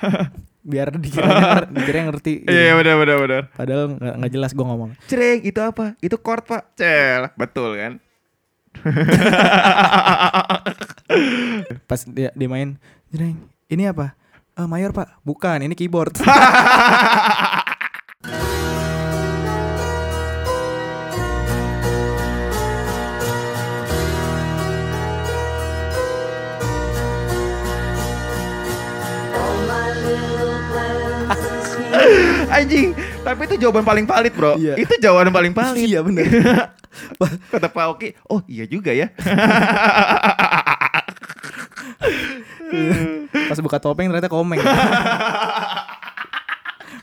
Speaker 1: biar dikira dikira ngerti gitu.
Speaker 2: Iya bener bener bener.
Speaker 1: padahal nggak nggak jelas gua ngomong
Speaker 2: Cereng itu apa? Itu chord pak. Cel, betul kan?
Speaker 1: pas dia, dia main jreng ini apa "Eh, mayor pak bukan ini
Speaker 2: [LAUGHS]
Speaker 1: keyboard
Speaker 3: All my little plans and schemes.
Speaker 2: [LAUGHS] Anjing, tapi itu jawaban paling valid bro.
Speaker 1: Iya.
Speaker 2: Itu jawaban paling valid.
Speaker 1: iya
Speaker 2: [LAUGHS]
Speaker 1: bener
Speaker 2: Kata Pak Oki, oh iya juga ya. [LAUGHS]
Speaker 1: pas buka topeng ternyata komeng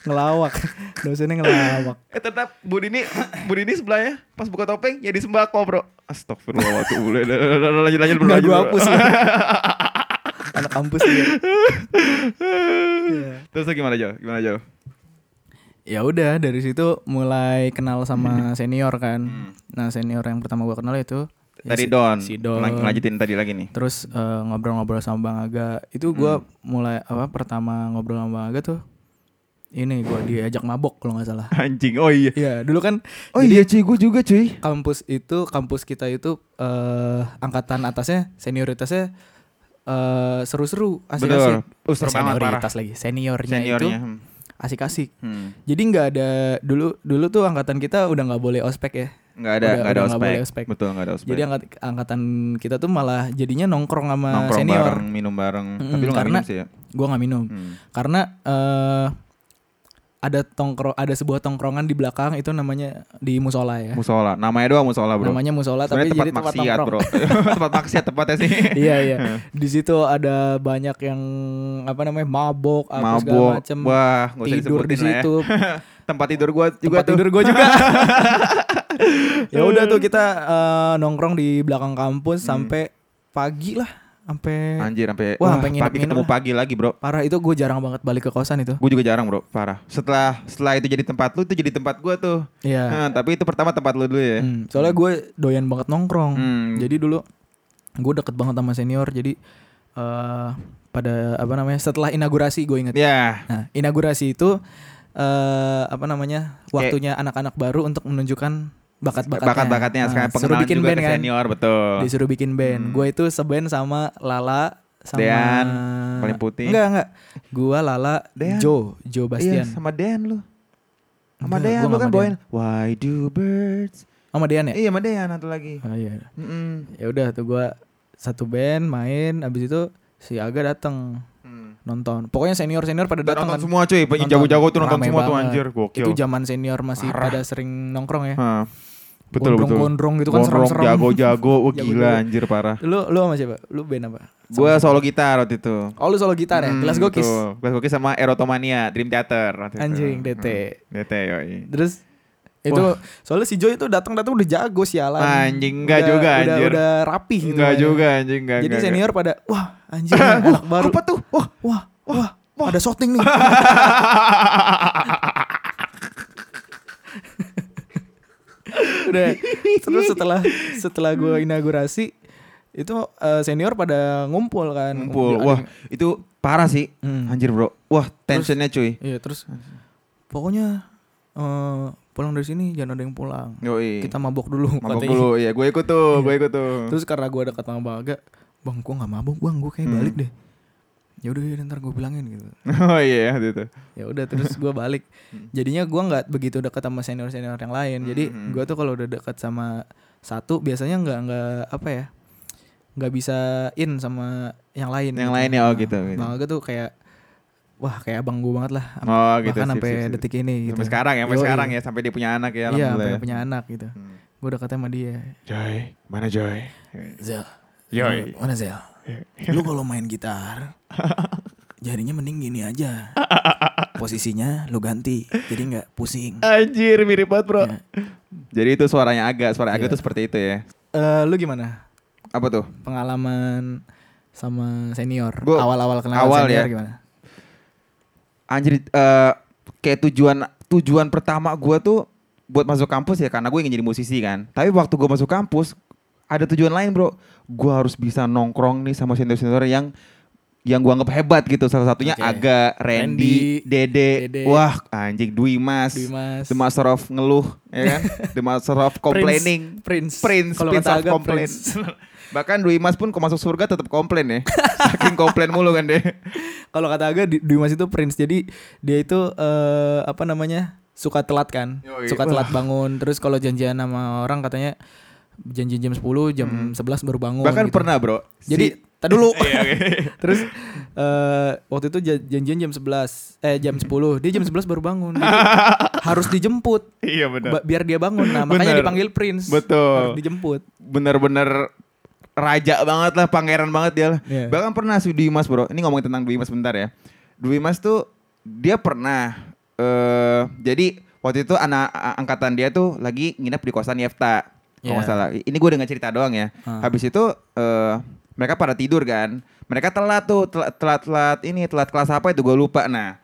Speaker 1: ngelawak dosennya ngelawak
Speaker 2: Eh tetap Bu Dini, Bu Dini sebelahnya pas buka topeng ya sembako bro. Astagfirullah [LAUGHS] waktu boleh lanjut lanjut bro.
Speaker 1: nggak gue
Speaker 2: lanjut, bro.
Speaker 1: hapus ya [LAUGHS] anak kampus ya Iya.
Speaker 2: [LAUGHS] Terus gimana Jo? Gimana Jo?
Speaker 1: ya udah dari situ mulai kenal sama
Speaker 2: Hmm.
Speaker 1: senior kan nah senior yang pertama gua kenal itu ya
Speaker 2: Tadi
Speaker 1: si-
Speaker 2: Don,
Speaker 1: si Don.
Speaker 2: Lang- lanjutin tadi lagi nih.
Speaker 1: terus eh, ngobrol-ngobrol sama Bang Aga itu gua
Speaker 2: Hmm.
Speaker 1: mulai apa pertama ngobrol sama Bang Aga tuh ini gua diajak mabok kalau nggak salah
Speaker 2: [LAUGHS]
Speaker 1: [LAUGHS]
Speaker 2: Anjing, oh iya.
Speaker 1: Iya dulu kan
Speaker 2: Oh iya cuy, gue juga cuy.
Speaker 1: kampus itu kampus kita itu eh angkatan atasnya senioritasnya eh, seru-seru asik-asik
Speaker 2: Betul. Uh, seru banget,
Speaker 1: senioritas lagi seniornya,
Speaker 2: Seniornya.
Speaker 1: itu
Speaker 2: hmm.
Speaker 1: asik-asik
Speaker 2: Hmm.
Speaker 1: jadi nggak ada dulu dulu tuh angkatan kita udah nggak boleh ospek ya
Speaker 2: Nggak ada,
Speaker 1: Udah-
Speaker 2: nggak
Speaker 1: udah
Speaker 2: ada
Speaker 1: nggak
Speaker 2: ospek.
Speaker 1: boleh ospek.
Speaker 2: Betul nggak ada ospek.
Speaker 1: jadi angkat, angkatan kita tuh malah jadinya nongkrong sama
Speaker 2: nongkrong
Speaker 1: senior
Speaker 2: bareng, minum bareng.
Speaker 1: Mm-mm,
Speaker 2: Tapi lu nggak
Speaker 1: karena-
Speaker 2: minum sih ya.
Speaker 1: gua nggak minum
Speaker 2: Hmm.
Speaker 1: karena eh ada tongkrong ada sebuah tongkrongan di belakang itu namanya di musola ya
Speaker 2: Musola, namanya doang musola bro.
Speaker 1: namanya musola tapi jadi
Speaker 2: Sebenarnya tempat
Speaker 1: tempat
Speaker 2: maksiat
Speaker 1: nongkrong
Speaker 2: bro. [LAUGHS] tempat maksiat tempatnya sih.
Speaker 1: [LAUGHS] iya
Speaker 2: [LAUGHS]
Speaker 1: iya di situ ada banyak yang apa namanya mabok apa segala
Speaker 2: Mabok,
Speaker 1: macem
Speaker 2: wah, nggak usah
Speaker 1: tidur di
Speaker 2: disebutin lah ya.
Speaker 1: situ
Speaker 2: [LAUGHS] Tempat tidur gue
Speaker 1: tempat
Speaker 2: juga tuh.
Speaker 1: tidur gue juga [LAUGHS] ya udah tuh kita eh, nongkrong di belakang kampus
Speaker 2: Hmm.
Speaker 1: sampai pagi lah sampai
Speaker 2: Anjir
Speaker 1: Wah,
Speaker 2: sampai wah,
Speaker 1: sampai
Speaker 2: pagi
Speaker 1: nginep-nginep
Speaker 2: ketemu
Speaker 1: lah.
Speaker 2: pagi lagi, Bro.
Speaker 1: parah itu gue jarang banget balik ke kosan itu
Speaker 2: Gue juga jarang, Bro. Parah. Setelah setelah itu jadi tempat lu, itu jadi tempat gua tuh.
Speaker 1: Iya.
Speaker 2: Nah, tapi itu pertama tempat lu dulu ya.
Speaker 1: Hmm, soalnya gue doyan banget nongkrong
Speaker 2: Hmm.
Speaker 1: jadi dulu gue deket banget sama senior jadi eh pada apa namanya setelah inaugurasi gue inget
Speaker 2: Ya.
Speaker 1: Nah, inaugurasi itu eh apa namanya? waktunya anak-anak baru untuk menunjukkan bakat-bakatnya.
Speaker 2: Bakat-bakatnya
Speaker 1: Nah,
Speaker 2: sekarang
Speaker 1: suruh
Speaker 2: pengenalan
Speaker 1: bikin
Speaker 2: juga
Speaker 1: band
Speaker 2: ke
Speaker 1: kan.
Speaker 2: senior, betul. Hmm.
Speaker 1: Disuruh bikin band. Gue itu seband sama Lala sama
Speaker 2: Dean, paling putih.
Speaker 1: Enggak, enggak. Gua Lala,
Speaker 2: Dean.
Speaker 1: Joe, Joe
Speaker 2: Iya,
Speaker 1: Bastian.
Speaker 2: sama Dan lu. Sama
Speaker 1: Enggak,
Speaker 2: Dean
Speaker 1: gua
Speaker 2: lu
Speaker 1: nggak
Speaker 2: kan
Speaker 1: sama
Speaker 2: bawain Why do birds?
Speaker 1: sama Dean ya?
Speaker 2: Iya, sama Dean satu lagi.
Speaker 1: Ah, iya.
Speaker 2: Mm-mm.
Speaker 1: Ya udah tuh gua satu band main abis itu si Aga datang
Speaker 2: Hmm.
Speaker 1: nonton. Pokoknya senior-senior pada
Speaker 2: Dan
Speaker 1: datang kan.
Speaker 2: nonton semua cuy,
Speaker 1: Nonton.
Speaker 2: jago-jago tuh nonton
Speaker 1: Rame
Speaker 2: semua tuh
Speaker 1: banget.
Speaker 2: anjir, gokil.
Speaker 1: Itu zaman senior masih pada sering nongkrong ya.
Speaker 2: Hah. Betul betul.
Speaker 1: Gondrong-gondrong gitu kan
Speaker 2: Gondrong,
Speaker 1: serem-serem.
Speaker 2: jago-jago, wah gila
Speaker 1: Jago-jago.
Speaker 2: anjir parah.
Speaker 1: Lu lu sama siapa? Lu band apa?
Speaker 2: Gue solo gitar waktu itu.
Speaker 1: Oh lu solo gitar ya?
Speaker 2: Hmm,
Speaker 1: Kelas gokis.
Speaker 2: betul. Kelas gokis sama Erotomania, Dream Theater. waktu itu.
Speaker 1: Anjing, DT.
Speaker 2: Hmm, DT yoi.
Speaker 1: Terus itu
Speaker 2: Wah.
Speaker 1: soalnya si Joy itu datang-datang udah jago sialan.
Speaker 2: Anjing, enggak
Speaker 1: Udah-
Speaker 2: juga,
Speaker 1: udah,
Speaker 2: anjir.
Speaker 1: Udah rapih gitu.
Speaker 2: Enggak
Speaker 1: mainnya.
Speaker 2: juga anjing, enggak.
Speaker 1: Jadi
Speaker 2: enggak,
Speaker 1: senior pada wah
Speaker 2: [LAUGHS]
Speaker 1: anjing
Speaker 2: enggak.
Speaker 1: anak
Speaker 2: Wah,
Speaker 1: baru.
Speaker 2: Apa tuh? Wah.
Speaker 1: Wah, wah, ada shooting
Speaker 2: [LAUGHS]
Speaker 1: nih.
Speaker 2: Oh.
Speaker 1: udah terus setelah setelah gue inaugurasi itu eh, senior pada ngumpul kan.
Speaker 2: Ngumpul.
Speaker 1: Ada-
Speaker 2: Wah, itu parah sih.
Speaker 1: Hmm.
Speaker 2: Anjir, Bro. Wah, tensionnya cuy.
Speaker 1: Iya terus pokoknya eh, pulang dari sini jangan ada yang pulang.
Speaker 2: Yoi.
Speaker 1: Kita mabok dulu
Speaker 2: Iya. mabok
Speaker 1: katanya.
Speaker 2: dulu. Iya, gue ikut tuh, gue ikut tuh.
Speaker 1: Terus karena gue dekat sama Bang Aga, bang gue nggak mabok bang gue kayak
Speaker 2: Hmm.
Speaker 1: balik deh. Ya udah ya ntar gue bilangin gitu.
Speaker 2: [LAUGHS] oh iya, waktu itu.
Speaker 1: Ya udah terus gue balik.
Speaker 2: Hmm.
Speaker 1: Jadinya gue nggak begitu dekat sama senior senior yang lain. Jadi
Speaker 2: hmm.
Speaker 1: gue tuh kalau udah dekat sama satu biasanya nggak nggak apa ya nggak bisa in sama yang lain. Nah,
Speaker 2: Yang lain ya, oh gitu, gitu.
Speaker 1: Bang Aga tuh kayak wah kayak abang gue banget lah.
Speaker 2: Oh, gitu.
Speaker 1: Bahkan
Speaker 2: Sip,
Speaker 1: sampai
Speaker 2: sip, sip.
Speaker 1: detik ini. Gitu.
Speaker 2: Sampai sekarang ya, sampai
Speaker 1: Yoi.
Speaker 2: sekarang ya, sampai dia punya anak ya,
Speaker 1: Iya,
Speaker 2: alhamdulillah.
Speaker 1: sampai punya anak gitu.
Speaker 2: Hmm.
Speaker 1: Gue dekatnya sama dia.
Speaker 2: Joy, mana Joy?
Speaker 1: Zel,
Speaker 2: Yoi.
Speaker 1: mana
Speaker 2: [LAUGHS]
Speaker 1: Zel? Lu kalau main gitar, jarinya mending gini aja. Posisinya lu ganti, jadi nggak pusing. Ya.
Speaker 2: Anjir, mirip banget, Bro.
Speaker 1: Iya.
Speaker 2: Jadi itu suaranya agak, suara agak tuh seperti itu ya.
Speaker 1: Eh, lu gimana
Speaker 2: Apa tuh?
Speaker 1: pengalaman sama senior?
Speaker 2: Gua-
Speaker 1: Awal-awal kenal
Speaker 2: awal
Speaker 1: senior
Speaker 2: ya.
Speaker 1: gimana?
Speaker 2: Anjir, eh, kayak tujuan tujuan pertama gua tuh buat masuk kampus ya karena gue ingin jadi musisi kan. Tapi waktu gue masuk kampus ada tujuan lain bro. Gue harus bisa nongkrong nih sama senior-senior yang yang gua anggap hebat gitu. Salah satunya
Speaker 1: Oke.
Speaker 2: Aga,
Speaker 1: Randy,
Speaker 2: Randy, Dede.
Speaker 1: Dede.
Speaker 2: Wah anjing Dwi Mas.
Speaker 1: Dwi Mas.
Speaker 2: The Master of ngeluh
Speaker 1: [LAUGHS]
Speaker 2: ya kan. The Master of complaining.
Speaker 1: Prince,
Speaker 2: Prince,
Speaker 1: Kalau
Speaker 2: Prince
Speaker 1: kata
Speaker 2: of
Speaker 1: Aga,
Speaker 2: complain.
Speaker 1: Prince. [LAUGHS]
Speaker 2: Bahkan Dwi Mas pun kalau masuk surga tetap komplain ya. Saking komplain mulu kan deh.
Speaker 1: Kalau kata Aga, Di- Dimas itu Prince. Jadi dia itu eh, apa namanya suka telat kan,
Speaker 2: Yoi.
Speaker 1: suka telat bangun. Terus kalau janjian sama orang katanya janji jam 10, jam 11 baru bangun.
Speaker 2: Hmm. Bahkan
Speaker 1: gitu.
Speaker 2: pernah bro. si-
Speaker 1: Jadi tak dulu.
Speaker 2: [LAUGHS] Iya, oke.
Speaker 1: Terus eh, waktu itu ja- janjian jam 11 eh
Speaker 2: Hmm.
Speaker 1: jam 10 dia jam 11 baru bangun Jadi,
Speaker 2: [LAUGHS]
Speaker 1: harus dijemput
Speaker 2: Iya benar.
Speaker 1: ba- biar dia bangun nah makanya
Speaker 2: Bener.
Speaker 1: dipanggil Prince
Speaker 2: Betul.
Speaker 1: harus dijemput
Speaker 2: bener-bener raja banget lah, pangeran banget dia lah.
Speaker 1: Iya.
Speaker 2: Bahkan pernah si Dwi Mas bro, ini ngomongin tentang Dwi Mas bentar ya. Dwi Mas tuh dia pernah eh jadi waktu itu anak a- angkatan dia tuh lagi nginep di kosan Yefta. Kalau
Speaker 1: Iya.
Speaker 2: nggak salah. Ini gue dengar cerita doang ya.
Speaker 1: Ah.
Speaker 2: Habis itu eh mereka pada tidur kan. Mereka telat tuh, telat, telat, telat ini, telat kelas apa itu gue lupa. Nah,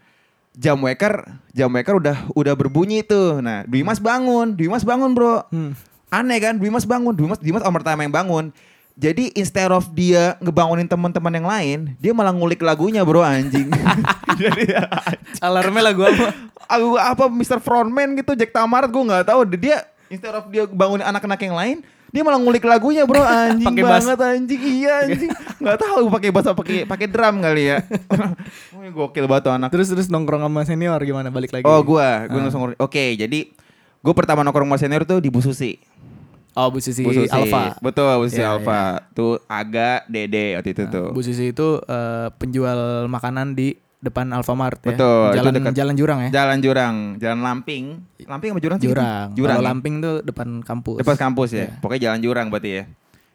Speaker 2: jam waker, jam waker udah udah berbunyi tuh. Nah, Dimas bangun, Dimas bangun bro.
Speaker 1: Hmm.
Speaker 2: Aneh kan, Dimas bangun, Dimas Dimas om pertama yang bangun. Jadi instead of dia ngebangunin teman-teman yang lain, dia malah ngulik lagunya bro anjing.
Speaker 1: [LAUGHS]
Speaker 2: Jadi
Speaker 1: Alarmnya lagu
Speaker 2: [LAUGHS]
Speaker 1: apa?
Speaker 2: aku apa Mr. Frontman gitu Jack Tamarat gue nggak tahu dia instead of dia bangunin anak-anak yang lain dia malah ngulik lagunya [LAUGHS] bro anjing
Speaker 1: Pakai bass.
Speaker 2: banget anjing iya anjing nggak tahu pakai bass apa pakai pakai drum [LAUGHS] kali ya Wih, gokil banget tuh anak
Speaker 1: terus terus nongkrong sama senior gimana balik lagi?
Speaker 2: oh gua gua langsung ngurus- oke jadi gue pertama nongkrong sama senior tuh di Bu Susi
Speaker 1: Oh, Bu Sisi,
Speaker 2: Bu Susi.
Speaker 1: Alfa.
Speaker 2: betul Bu Susi
Speaker 1: Iya,
Speaker 2: Alfa tuh agak dede waktu itu tuh
Speaker 1: Nah, Bu Sisi itu eh, penjual makanan di depan Alfamart ya.
Speaker 2: Betul, itu
Speaker 1: Jalan
Speaker 2: dekat-
Speaker 1: Jalan Jurang ya.
Speaker 2: jalan Jurang jalan Lamping Lamping sama Jurang sih?
Speaker 1: Jurang.
Speaker 2: Jurang
Speaker 1: Kalau
Speaker 2: ya?
Speaker 1: Lamping tuh depan kampus.
Speaker 2: Depan kampus ya.
Speaker 1: Iya.
Speaker 2: Pokoknya jalan jurang berarti ya.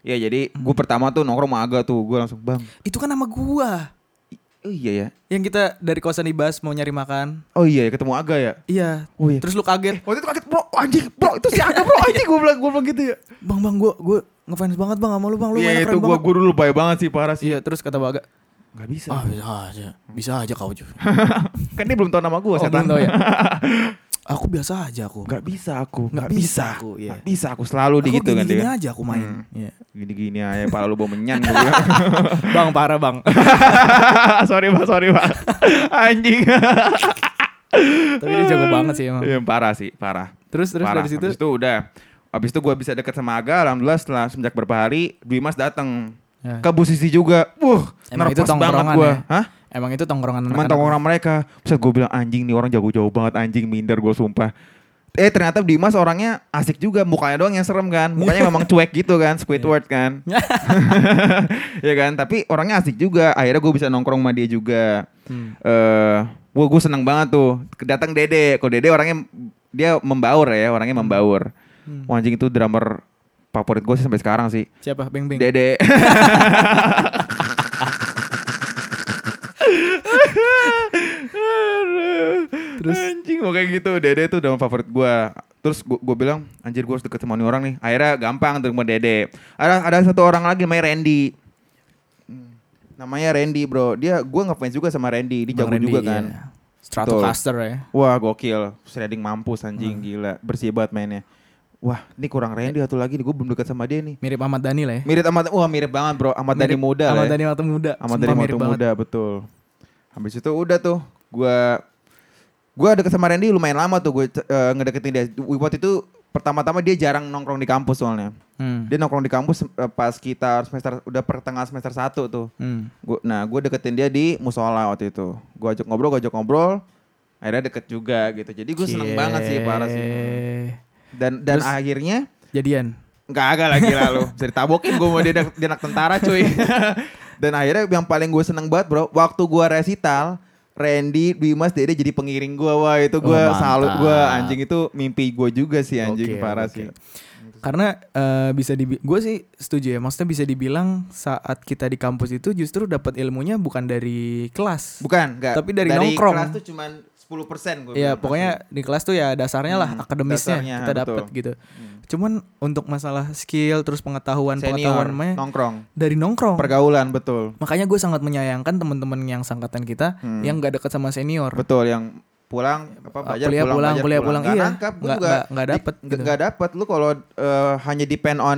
Speaker 2: Iya jadi gue pertama tuh nongkrong sama Aga tuh gue langsung bang.
Speaker 1: Itu kan nama gua.
Speaker 2: i- Oh iya ya.
Speaker 1: Yang kita dari kosan Ibas mau nyari makan.
Speaker 2: Oh iya ya ketemu Aga ya.
Speaker 1: Iya.
Speaker 2: Oh iya.
Speaker 1: Terus lu kaget.
Speaker 2: Waktu itu kaget bro oh, anjing bro itu si Aga bro anjing gue bilang gue bilang gitu ya.
Speaker 1: Bang bang gua gua ngefans banget bang sama lu bang lu mainnya
Speaker 2: Iya
Speaker 1: keren
Speaker 2: itu gue
Speaker 1: banget."
Speaker 2: gue dulu baik banget sih parah sih.
Speaker 1: Iya, terus kata Baga,
Speaker 2: Gak bisa.
Speaker 1: "Ah, bisa aja. Bisa aja kau
Speaker 2: [LAUGHS]
Speaker 1: juga."
Speaker 2: kan dia belum tahu nama gue
Speaker 1: Oh, belum
Speaker 2: setan.
Speaker 1: tahu
Speaker 2: [LAUGHS]
Speaker 1: ya. aku biasa aja aku.
Speaker 2: Gak bisa aku.
Speaker 1: Nggak
Speaker 2: Gak
Speaker 1: bisa
Speaker 2: bisa
Speaker 1: aku,
Speaker 2: aku.
Speaker 1: iya.
Speaker 2: Gak bisa aku selalu di
Speaker 1: Aku
Speaker 2: gitu kan
Speaker 1: gini-gini
Speaker 2: dia.
Speaker 1: aja aku main. Iya.
Speaker 2: Gini-gini aja pala lu bau menyan
Speaker 1: [LAUGHS]
Speaker 2: gue bilang. [LAUGHS]
Speaker 1: Bang parah bang.
Speaker 2: sorry pak, sorry
Speaker 1: [LAUGHS]
Speaker 2: pak. Anjing.
Speaker 1: Tapi dia jago banget sih Iya, emang.
Speaker 2: Iya parah sih, parah.
Speaker 1: Terus terus
Speaker 2: Parah.
Speaker 1: dari situ.
Speaker 2: Habis itu udah. Habis itu gue bisa dekat sama Aga. Alhamdulillah setelah semenjak beberapa hari Dimas datang
Speaker 1: Ya.
Speaker 2: ke Bu Sisi juga. Wuh,
Speaker 1: Emang itu
Speaker 2: nervous banget
Speaker 1: tongkrongan
Speaker 2: gue.
Speaker 1: ya?
Speaker 2: Hah?
Speaker 1: Emang itu tongkrongan
Speaker 2: Teman
Speaker 1: anak-anak.
Speaker 2: orang mereka. Bisa gue bilang anjing nih orang jago-jago banget anjing minder gue sumpah. Eh ternyata Dimas orangnya asik juga mukanya doang yang serem kan mukanya
Speaker 1: [LAUGHS]
Speaker 2: memang cuek gitu kan
Speaker 1: Iya.
Speaker 2: Squidward kan [LAUGHS] ya kan tapi orangnya asik juga akhirnya gue bisa nongkrong sama dia juga
Speaker 1: Hmm.
Speaker 2: eh wah gue seneng banget tuh datang dede kok dede orangnya dia membaur ya orangnya membaur
Speaker 1: Hmm.
Speaker 2: Wah, anjing itu drummer favorit gue sih sampai sekarang sih
Speaker 1: Siapa? Beng Beng.
Speaker 2: [LAUGHS] dede Terus anjing mau kayak gitu Dede tuh drummer favorit gue Terus gue bilang anjir gue harus deket sama nih orang nih Akhirnya gampang tuh sama Dede Ada ada satu orang lagi namanya Randy Hmm, Namanya Randy bro Dia gue ngefans juga sama Randy Dia
Speaker 1: Bang
Speaker 2: jago
Speaker 1: Randy,
Speaker 2: juga kan
Speaker 1: iya. Stratocaster ya.
Speaker 2: Wah gokil, shredding mampus
Speaker 1: Hmm.
Speaker 2: anjing gila, bersih banget mainnya. Wah, ini kurang
Speaker 1: Eh.
Speaker 2: Randy satu lagi nih, gue belum dekat sama dia nih.
Speaker 1: Mirip Ahmad Dhani lah ya.
Speaker 2: Mirip amat, wah mirip banget bro, amat dari
Speaker 1: Mirip
Speaker 2: muda
Speaker 1: Ahmad
Speaker 2: lah.
Speaker 1: Dhani waktu muda.
Speaker 2: Amat
Speaker 1: Sumpah
Speaker 2: dari
Speaker 1: mirip
Speaker 2: waktu
Speaker 1: banget.
Speaker 2: muda betul. Habis itu udah tuh, gue gue deket sama Randy lumayan lama tuh gue ngedeketin dia. Waktu itu pertama-tama dia jarang nongkrong di kampus soalnya.
Speaker 1: Hmm.
Speaker 2: Dia nongkrong di kampus eh, pas kita semester udah pertengahan semester 1 tuh.
Speaker 1: Hmm.
Speaker 2: Gua, nah, gue deketin dia di musola waktu itu. Gue ajak ngobrol, gue ajak ngobrol. Akhirnya deket juga gitu. Jadi gue seneng
Speaker 1: Cie.
Speaker 2: banget sih parah sih. Dan dan
Speaker 1: Terus-
Speaker 2: akhirnya
Speaker 1: Jadian.
Speaker 2: nggak agak lagi lalu. Bisa ditabokin gue mau dia, anak- dia anak tentara
Speaker 1: [LAUGHS]
Speaker 2: cuy. dan akhirnya yang paling gue seneng banget bro, waktu gue resital, Randy, Dimas, Dede jadi pengiring gue. Wah itu gue
Speaker 1: Wah,
Speaker 2: salut
Speaker 1: Oh, mantap.
Speaker 2: gue anjing itu mimpi gue juga sih
Speaker 1: Oke,
Speaker 2: anjing parah
Speaker 1: oke.
Speaker 2: sih.
Speaker 1: Karena eh, bisa di gue sih setuju ya. Maksudnya bisa dibilang saat kita di kampus itu justru dapat ilmunya bukan dari kelas.
Speaker 2: Bukan, nggak.
Speaker 1: Tapi dari nongkrong.
Speaker 2: kelas tuh cuman 10% gue.
Speaker 1: Iya
Speaker 2: bilang,
Speaker 1: pokoknya di kelas tuh ya dasarnya lah
Speaker 2: Hmm,
Speaker 1: akademisnya
Speaker 2: dasarnya,
Speaker 1: kita dapat
Speaker 2: betul. Hmm.
Speaker 1: gitu. Cuman untuk masalah skill terus pengetahuan
Speaker 2: pasti. senior,
Speaker 1: pengetahuan namanya
Speaker 2: nongkrong,
Speaker 1: dari nongkrong.
Speaker 2: pergaulan betul.
Speaker 1: Makanya gue sangat menyayangkan teman-teman yang sangkatan kita
Speaker 2: Hmm.
Speaker 1: yang gak dekat sama senior.
Speaker 2: Betul yang pulang apa belajar
Speaker 1: kuliah pulang,
Speaker 2: belajar
Speaker 1: kuliah pulang.
Speaker 2: Nggak
Speaker 1: Iya,
Speaker 2: nangkap, gua
Speaker 1: nggak-
Speaker 2: juga
Speaker 1: nggak- nggak
Speaker 2: di-
Speaker 1: dapet
Speaker 2: nggak-
Speaker 1: gitu.
Speaker 2: nggak dapet. lu kalau eh, hanya depend on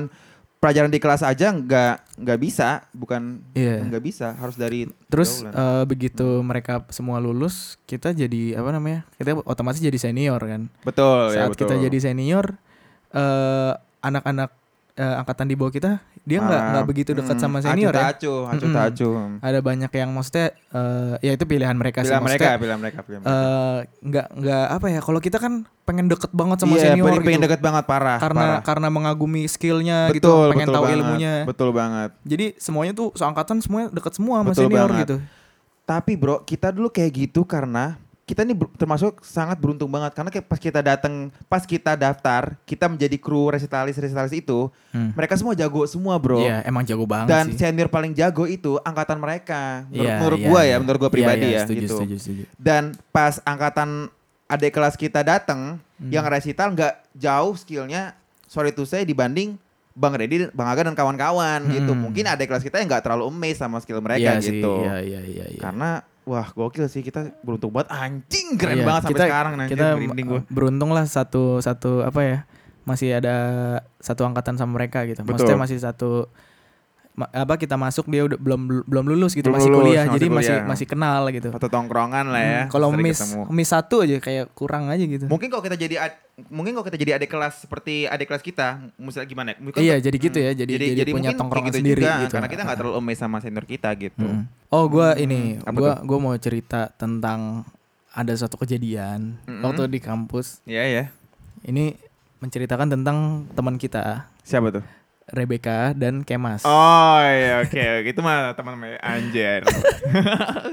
Speaker 2: pelajaran di kelas aja nggak nggak bisa bukan
Speaker 1: Iya.
Speaker 2: nggak bisa harus dari
Speaker 1: Terus
Speaker 2: pergaulan.
Speaker 1: eh, begitu mereka semua lulus, kita jadi apa namanya? Kita otomatis jadi senior kan.
Speaker 2: betul ya,
Speaker 1: Saat kita
Speaker 2: betul.
Speaker 1: jadi senior, eh, anak-anak eh, angkatan di bawah kita dia nggak
Speaker 2: Ah,
Speaker 1: nggak begitu dekat
Speaker 2: mm,
Speaker 1: sama senior
Speaker 2: acuh
Speaker 1: ya.
Speaker 2: tak acuh, acuh
Speaker 1: Mm-mm.
Speaker 2: tak acuh.
Speaker 1: Ada banyak yang maksudnya eh, ya itu pilihan mereka sih
Speaker 2: Bila mereka ya.
Speaker 1: maksudnya.
Speaker 2: bila mereka bila mereka.
Speaker 1: eh, nggak nggak apa ya? Kalau kita kan pengen deket banget sama
Speaker 2: Iya,
Speaker 1: senior
Speaker 2: pengen, pengen
Speaker 1: gitu.
Speaker 2: deket banget parah
Speaker 1: Karena
Speaker 2: parah.
Speaker 1: karena mengagumi skillnya gitu,
Speaker 2: betul
Speaker 1: pengen
Speaker 2: betul
Speaker 1: tahu
Speaker 2: banget,
Speaker 1: ilmunya.
Speaker 2: betul banget
Speaker 1: Jadi semuanya tuh seangkatan semuanya deket semua sama
Speaker 2: Betul
Speaker 1: senior
Speaker 2: banget.
Speaker 1: gitu.
Speaker 2: Tapi bro, kita dulu kayak gitu karena kita nih ber- termasuk sangat beruntung banget karena kayak pas kita datang, pas kita daftar, kita menjadi kru resitalis resitalis itu,
Speaker 1: Hmm.
Speaker 2: mereka semua jago semua bro.
Speaker 1: Iya, emang jago banget
Speaker 2: Dan
Speaker 1: sih.
Speaker 2: senior paling jago itu angkatan mereka. Menurut,
Speaker 1: Iya,
Speaker 2: menurut
Speaker 1: iya,
Speaker 2: gua
Speaker 1: iya.
Speaker 2: ya, menurut gua
Speaker 1: Iya,
Speaker 2: pribadi
Speaker 1: iya,
Speaker 2: ya
Speaker 1: setuju,
Speaker 2: gitu.
Speaker 1: Setuju, setuju.
Speaker 2: Dan pas angkatan adik kelas kita datang
Speaker 1: Hmm.
Speaker 2: yang resital nggak jauh skillnya sorry to say dibanding Bang Reddy, Bang Aga dan kawan-kawan gitu.
Speaker 1: Hmm.
Speaker 2: Mungkin adik kelas kita yang nggak terlalu amazed sama skill
Speaker 1: Iya
Speaker 2: mereka
Speaker 1: sih,
Speaker 2: gitu.
Speaker 1: Iya iya iya iya.
Speaker 2: Karena wah gokil sih kita beruntung banget anjing keren
Speaker 1: Iya,
Speaker 2: banget sampai
Speaker 1: kita-
Speaker 2: sekarang anjing
Speaker 1: kita
Speaker 2: merinding
Speaker 1: eh,
Speaker 2: gua.
Speaker 1: beruntung lah satu satu apa ya masih ada satu angkatan sama mereka gitu maksudnya
Speaker 2: Betul.
Speaker 1: masih satu ma- apa kita masuk dia udah belum belum lulus gitu
Speaker 2: Belum
Speaker 1: masih
Speaker 2: lulus,
Speaker 1: kuliah
Speaker 2: masih
Speaker 1: jadi masih
Speaker 2: kuliah.
Speaker 1: masih kenal gitu
Speaker 2: Satu tongkrongan lah ya.
Speaker 1: Hmm, kalau
Speaker 2: sering
Speaker 1: miss
Speaker 2: ketemu.
Speaker 1: miss satu aja kayak kurang aja gitu
Speaker 2: Mungkin kalau kita jadi ad- mungkin kalau kita jadi adik kelas seperti adik kelas kita, misalnya gimana? Mungkin kan- Hmm.
Speaker 1: Iya, jadi gitu ya, jadi- jadi punya
Speaker 2: mungkin kayak
Speaker 1: tongkrongan sendiri gitu.
Speaker 2: Karena kita nggak terlalu amazed sama senior kita gitu.
Speaker 1: Hmm. oh gua ini
Speaker 2: apa
Speaker 1: gua gua mau cerita tentang ada suatu kejadian
Speaker 2: Mm-mm.
Speaker 1: waktu di kampus
Speaker 2: Iya ya.
Speaker 1: ini menceritakan tentang teman kita
Speaker 2: Siapa tuh?
Speaker 1: Rebecca dan Kemas
Speaker 2: Oh iya oke oke. itu mah teman-teman anjir. [LAUGHS]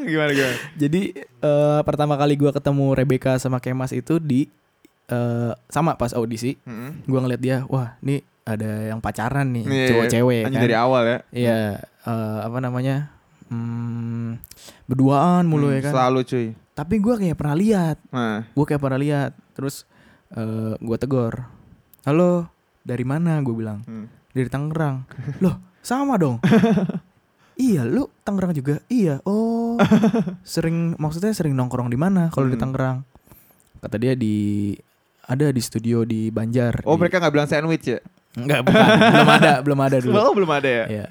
Speaker 2: gimana gimana?
Speaker 1: Jadi eh, pertama kali gua ketemu Rebecca sama Kemas itu di eh, sama pas audisi,
Speaker 2: Mm-mm.
Speaker 1: gua ngeliat dia, wah nih ada yang pacaran nih
Speaker 2: Hmm. Iya,
Speaker 1: cowok-cewek
Speaker 2: anjing
Speaker 1: kan.
Speaker 2: dari awal ya.
Speaker 1: Iya eh, apa namanya hmm, berduaan mulu ya kan.
Speaker 2: Hmm, Selalu cuy.
Speaker 1: Tapi gua kayak pernah lihat,
Speaker 2: Nah.
Speaker 1: gua kayak pernah lihat. Terus eh, gua tegur, halo dari mana? Gue bilang
Speaker 2: Hmm.
Speaker 1: dari Tangerang.
Speaker 2: [LAUGHS]
Speaker 1: Loh, sama dong. iya, lu Tangerang juga. Iya.
Speaker 2: [LAUGHS]
Speaker 1: Oh. sering maksudnya sering nongkrong di mana kalau di
Speaker 2: Hmm.
Speaker 1: Tangerang? Kata dia di ada di studio di Banjar.
Speaker 2: Oh
Speaker 1: di-
Speaker 2: mereka nggak bilang sandwich ya?
Speaker 1: enggak bukan. belum ada, belum
Speaker 2: [LAUGHS]
Speaker 1: ada dulu.
Speaker 2: Oh belum ada ya?
Speaker 1: Iya.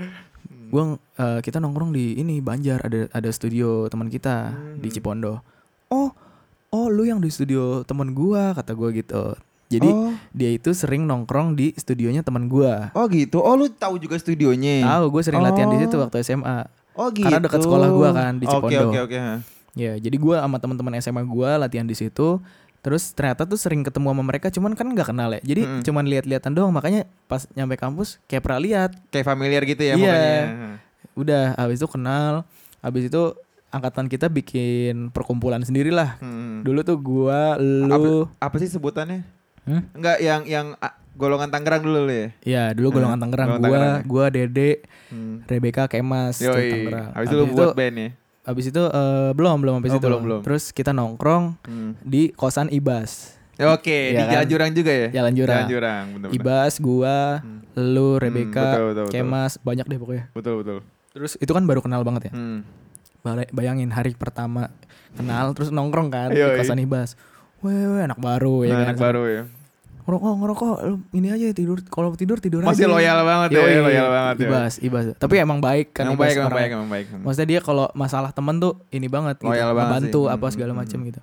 Speaker 1: Gua eh, kita nongkrong di ini Banjar ada ada studio teman kita di
Speaker 2: Hmm.
Speaker 1: Cipondo. Oh, oh lu yang di studio teman gua kata gua gitu. Jadi
Speaker 2: oh,
Speaker 1: dia itu sering nongkrong di studionya teman gua.
Speaker 2: oh gitu. Oh lu tahu juga studionya?
Speaker 1: Tahu, gue sering latihan di
Speaker 2: Oh.
Speaker 1: situ waktu SMA.
Speaker 2: Oh gitu.
Speaker 1: Karena dekat sekolah gua kan, di
Speaker 2: Oke
Speaker 1: Cipondo.
Speaker 2: oke oke. ha.
Speaker 1: Ya, jadi gua sama teman-teman SMA gua latihan di situ. Terus ternyata tuh sering ketemu sama mereka, cuman kan nggak kenal ya. Jadi
Speaker 2: Mm-mm.
Speaker 1: cuman lihat-lihatan doang. Makanya pas nyampe kampus kayak pernah lihat.
Speaker 2: Kayak familiar gitu ya
Speaker 1: Iya.
Speaker 2: mukanya.
Speaker 1: Udah, habis itu kenal. Habis itu angkatan kita bikin perkumpulan sendirilah.
Speaker 2: Hmm.
Speaker 1: Dulu tuh gua, lu,
Speaker 2: Apa, apa sih sebutannya?
Speaker 1: Hmm?
Speaker 2: Enggak yang yang ah, golongan Tangerang dulu lu ya.
Speaker 1: ya dulu golongan
Speaker 2: Hmm,
Speaker 1: Tangerang
Speaker 2: golongan
Speaker 1: gua,
Speaker 2: Tangerang ya.
Speaker 1: gua Dede,
Speaker 2: Hmm.
Speaker 1: Rebecca, Kemas, tuh
Speaker 2: Yoi.
Speaker 1: Tangerang.
Speaker 2: Habis itu lu buat band ya.
Speaker 1: habis itu eh, belum belum habis
Speaker 2: Oh,
Speaker 1: itu
Speaker 2: belum, belum.
Speaker 1: Terus kita nongkrong
Speaker 2: Hmm.
Speaker 1: di kosan Ibas.
Speaker 2: Ya, Oke, di
Speaker 1: Iya kan?
Speaker 2: Jalan Jurang juga ya?
Speaker 1: Jalan Jurang.
Speaker 2: Jalan Jurang, bener-bener. Hmm.
Speaker 1: Ibas, gua, lu, Rebecca,
Speaker 2: betul, betul, betul.
Speaker 1: Kemas, banyak deh pokoknya.
Speaker 2: Betul betul.
Speaker 1: Terus itu kan baru kenal banget ya.
Speaker 2: Hmm.
Speaker 1: Bale- Bayangin hari pertama kenal terus nongkrong kan di
Speaker 2: Yoi.
Speaker 1: kosan Ibas. Weh, weh, anak baru ya
Speaker 2: Nah,
Speaker 1: kan.
Speaker 2: anak baru ya.
Speaker 1: Ngerokok, ngerokok, lu ini aja ya, tidur. Kalau tidur tidur
Speaker 2: Masih
Speaker 1: aja.
Speaker 2: loyal banget ya,
Speaker 1: Yoi,
Speaker 2: loyal banget ya.
Speaker 1: Ibas, Ibas. Tapi emang baik kan
Speaker 2: yang
Speaker 1: Ibas
Speaker 2: baik, yang
Speaker 1: orangnya.
Speaker 2: baik, yang baik. Hmm.
Speaker 1: Maksudnya dia kalau masalah temen tuh ini banget gitu,
Speaker 2: Loyal banget
Speaker 1: membantu
Speaker 2: sih.
Speaker 1: apa
Speaker 2: Hmm,
Speaker 1: segala
Speaker 2: hmm,
Speaker 1: macam gitu.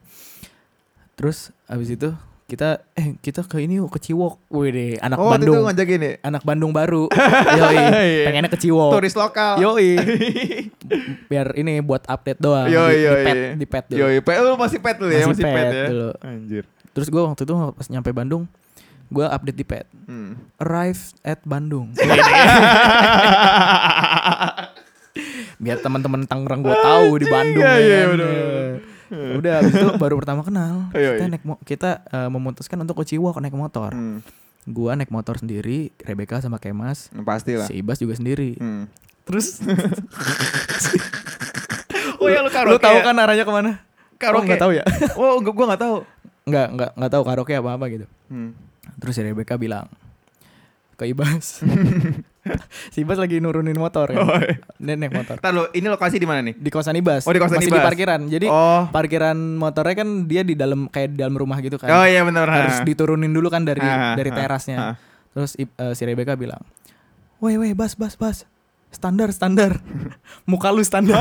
Speaker 1: Terus abis itu kita eh kita ke ini yuk, ke Ciwok. Wih deh, anak
Speaker 2: oh, waktu itu
Speaker 1: Bandung.
Speaker 2: ngajakin ya?
Speaker 1: Anak Bandung
Speaker 2: [LAUGHS]
Speaker 1: baru. Yoi,
Speaker 2: Iya.
Speaker 1: pengennya ke Ciwok.
Speaker 2: Turis lokal.
Speaker 1: Oh. Yoi.
Speaker 2: [LAUGHS]
Speaker 1: Biar ini buat update doang Eh,
Speaker 2: Yoi,
Speaker 1: di, di
Speaker 2: yoi.
Speaker 1: pet di pet dulu.
Speaker 2: Yoi, pet. Lu masih pet lu ya,
Speaker 1: Masih
Speaker 2: masih, pet,
Speaker 1: pet
Speaker 2: ya.
Speaker 1: dulu.
Speaker 2: Anjir.
Speaker 1: Terus gue waktu itu pas nyampe Bandung, gue update di pet.
Speaker 2: Hmm.
Speaker 1: Arrive at Bandung. Biar teman-teman Tangerang gue tahu di Bandung.
Speaker 2: iya,
Speaker 1: ya
Speaker 2: iya,
Speaker 1: kan.
Speaker 2: bener-bener.
Speaker 1: [LAUGHS] Udah abis itu baru pertama kenal.
Speaker 2: Iya,
Speaker 1: Kita
Speaker 2: iya.
Speaker 1: naik mo- kita eh, memutuskan untuk ke Ciwok naik motor.
Speaker 2: [LAUGHS] Hmm.
Speaker 1: Gua naik motor sendiri, Rebecca sama Kemas,
Speaker 2: Pasti lah.
Speaker 1: si Ibas juga sendiri.
Speaker 2: Iya. Hmm.
Speaker 1: Terus
Speaker 2: [LAUGHS] Oh ya lu
Speaker 1: lu
Speaker 2: karaoke.
Speaker 1: tahu kan arahnya kemana? Oh,
Speaker 2: Karaoke.
Speaker 1: nggak tahu ya?
Speaker 2: [LAUGHS]
Speaker 1: [LAUGHS]
Speaker 2: Oh, gua gua enggak tahu.
Speaker 1: Nggak nggak nggak tahu karaoke apa apa gitu.
Speaker 2: Hmm.
Speaker 1: Terus si Rebecca bilang ke
Speaker 2: [LAUGHS]
Speaker 1: Ibas. si Ibas lagi nurunin motor ya.
Speaker 2: Oh, iya.
Speaker 1: Dia naik motor.
Speaker 2: Ntar lu, ini lokasi di mana nih?
Speaker 1: Di kosan Ibas.
Speaker 2: Oh, di kosan
Speaker 1: Masih di
Speaker 2: Ibas.
Speaker 1: parkiran. Jadi
Speaker 2: Oh.
Speaker 1: parkiran motornya kan dia di dalam kayak di dalam rumah gitu kan.
Speaker 2: Oh iya benar.
Speaker 1: harus diturunin dulu kan dari
Speaker 2: Ah,
Speaker 1: dari
Speaker 2: ah,
Speaker 1: terasnya.
Speaker 2: ah.
Speaker 1: Terus i- eh, si Rebecca bilang, "Weh, weh, bas, bas, bas. Standar,
Speaker 2: [LAUGHS]
Speaker 1: standar. Muka lu standar."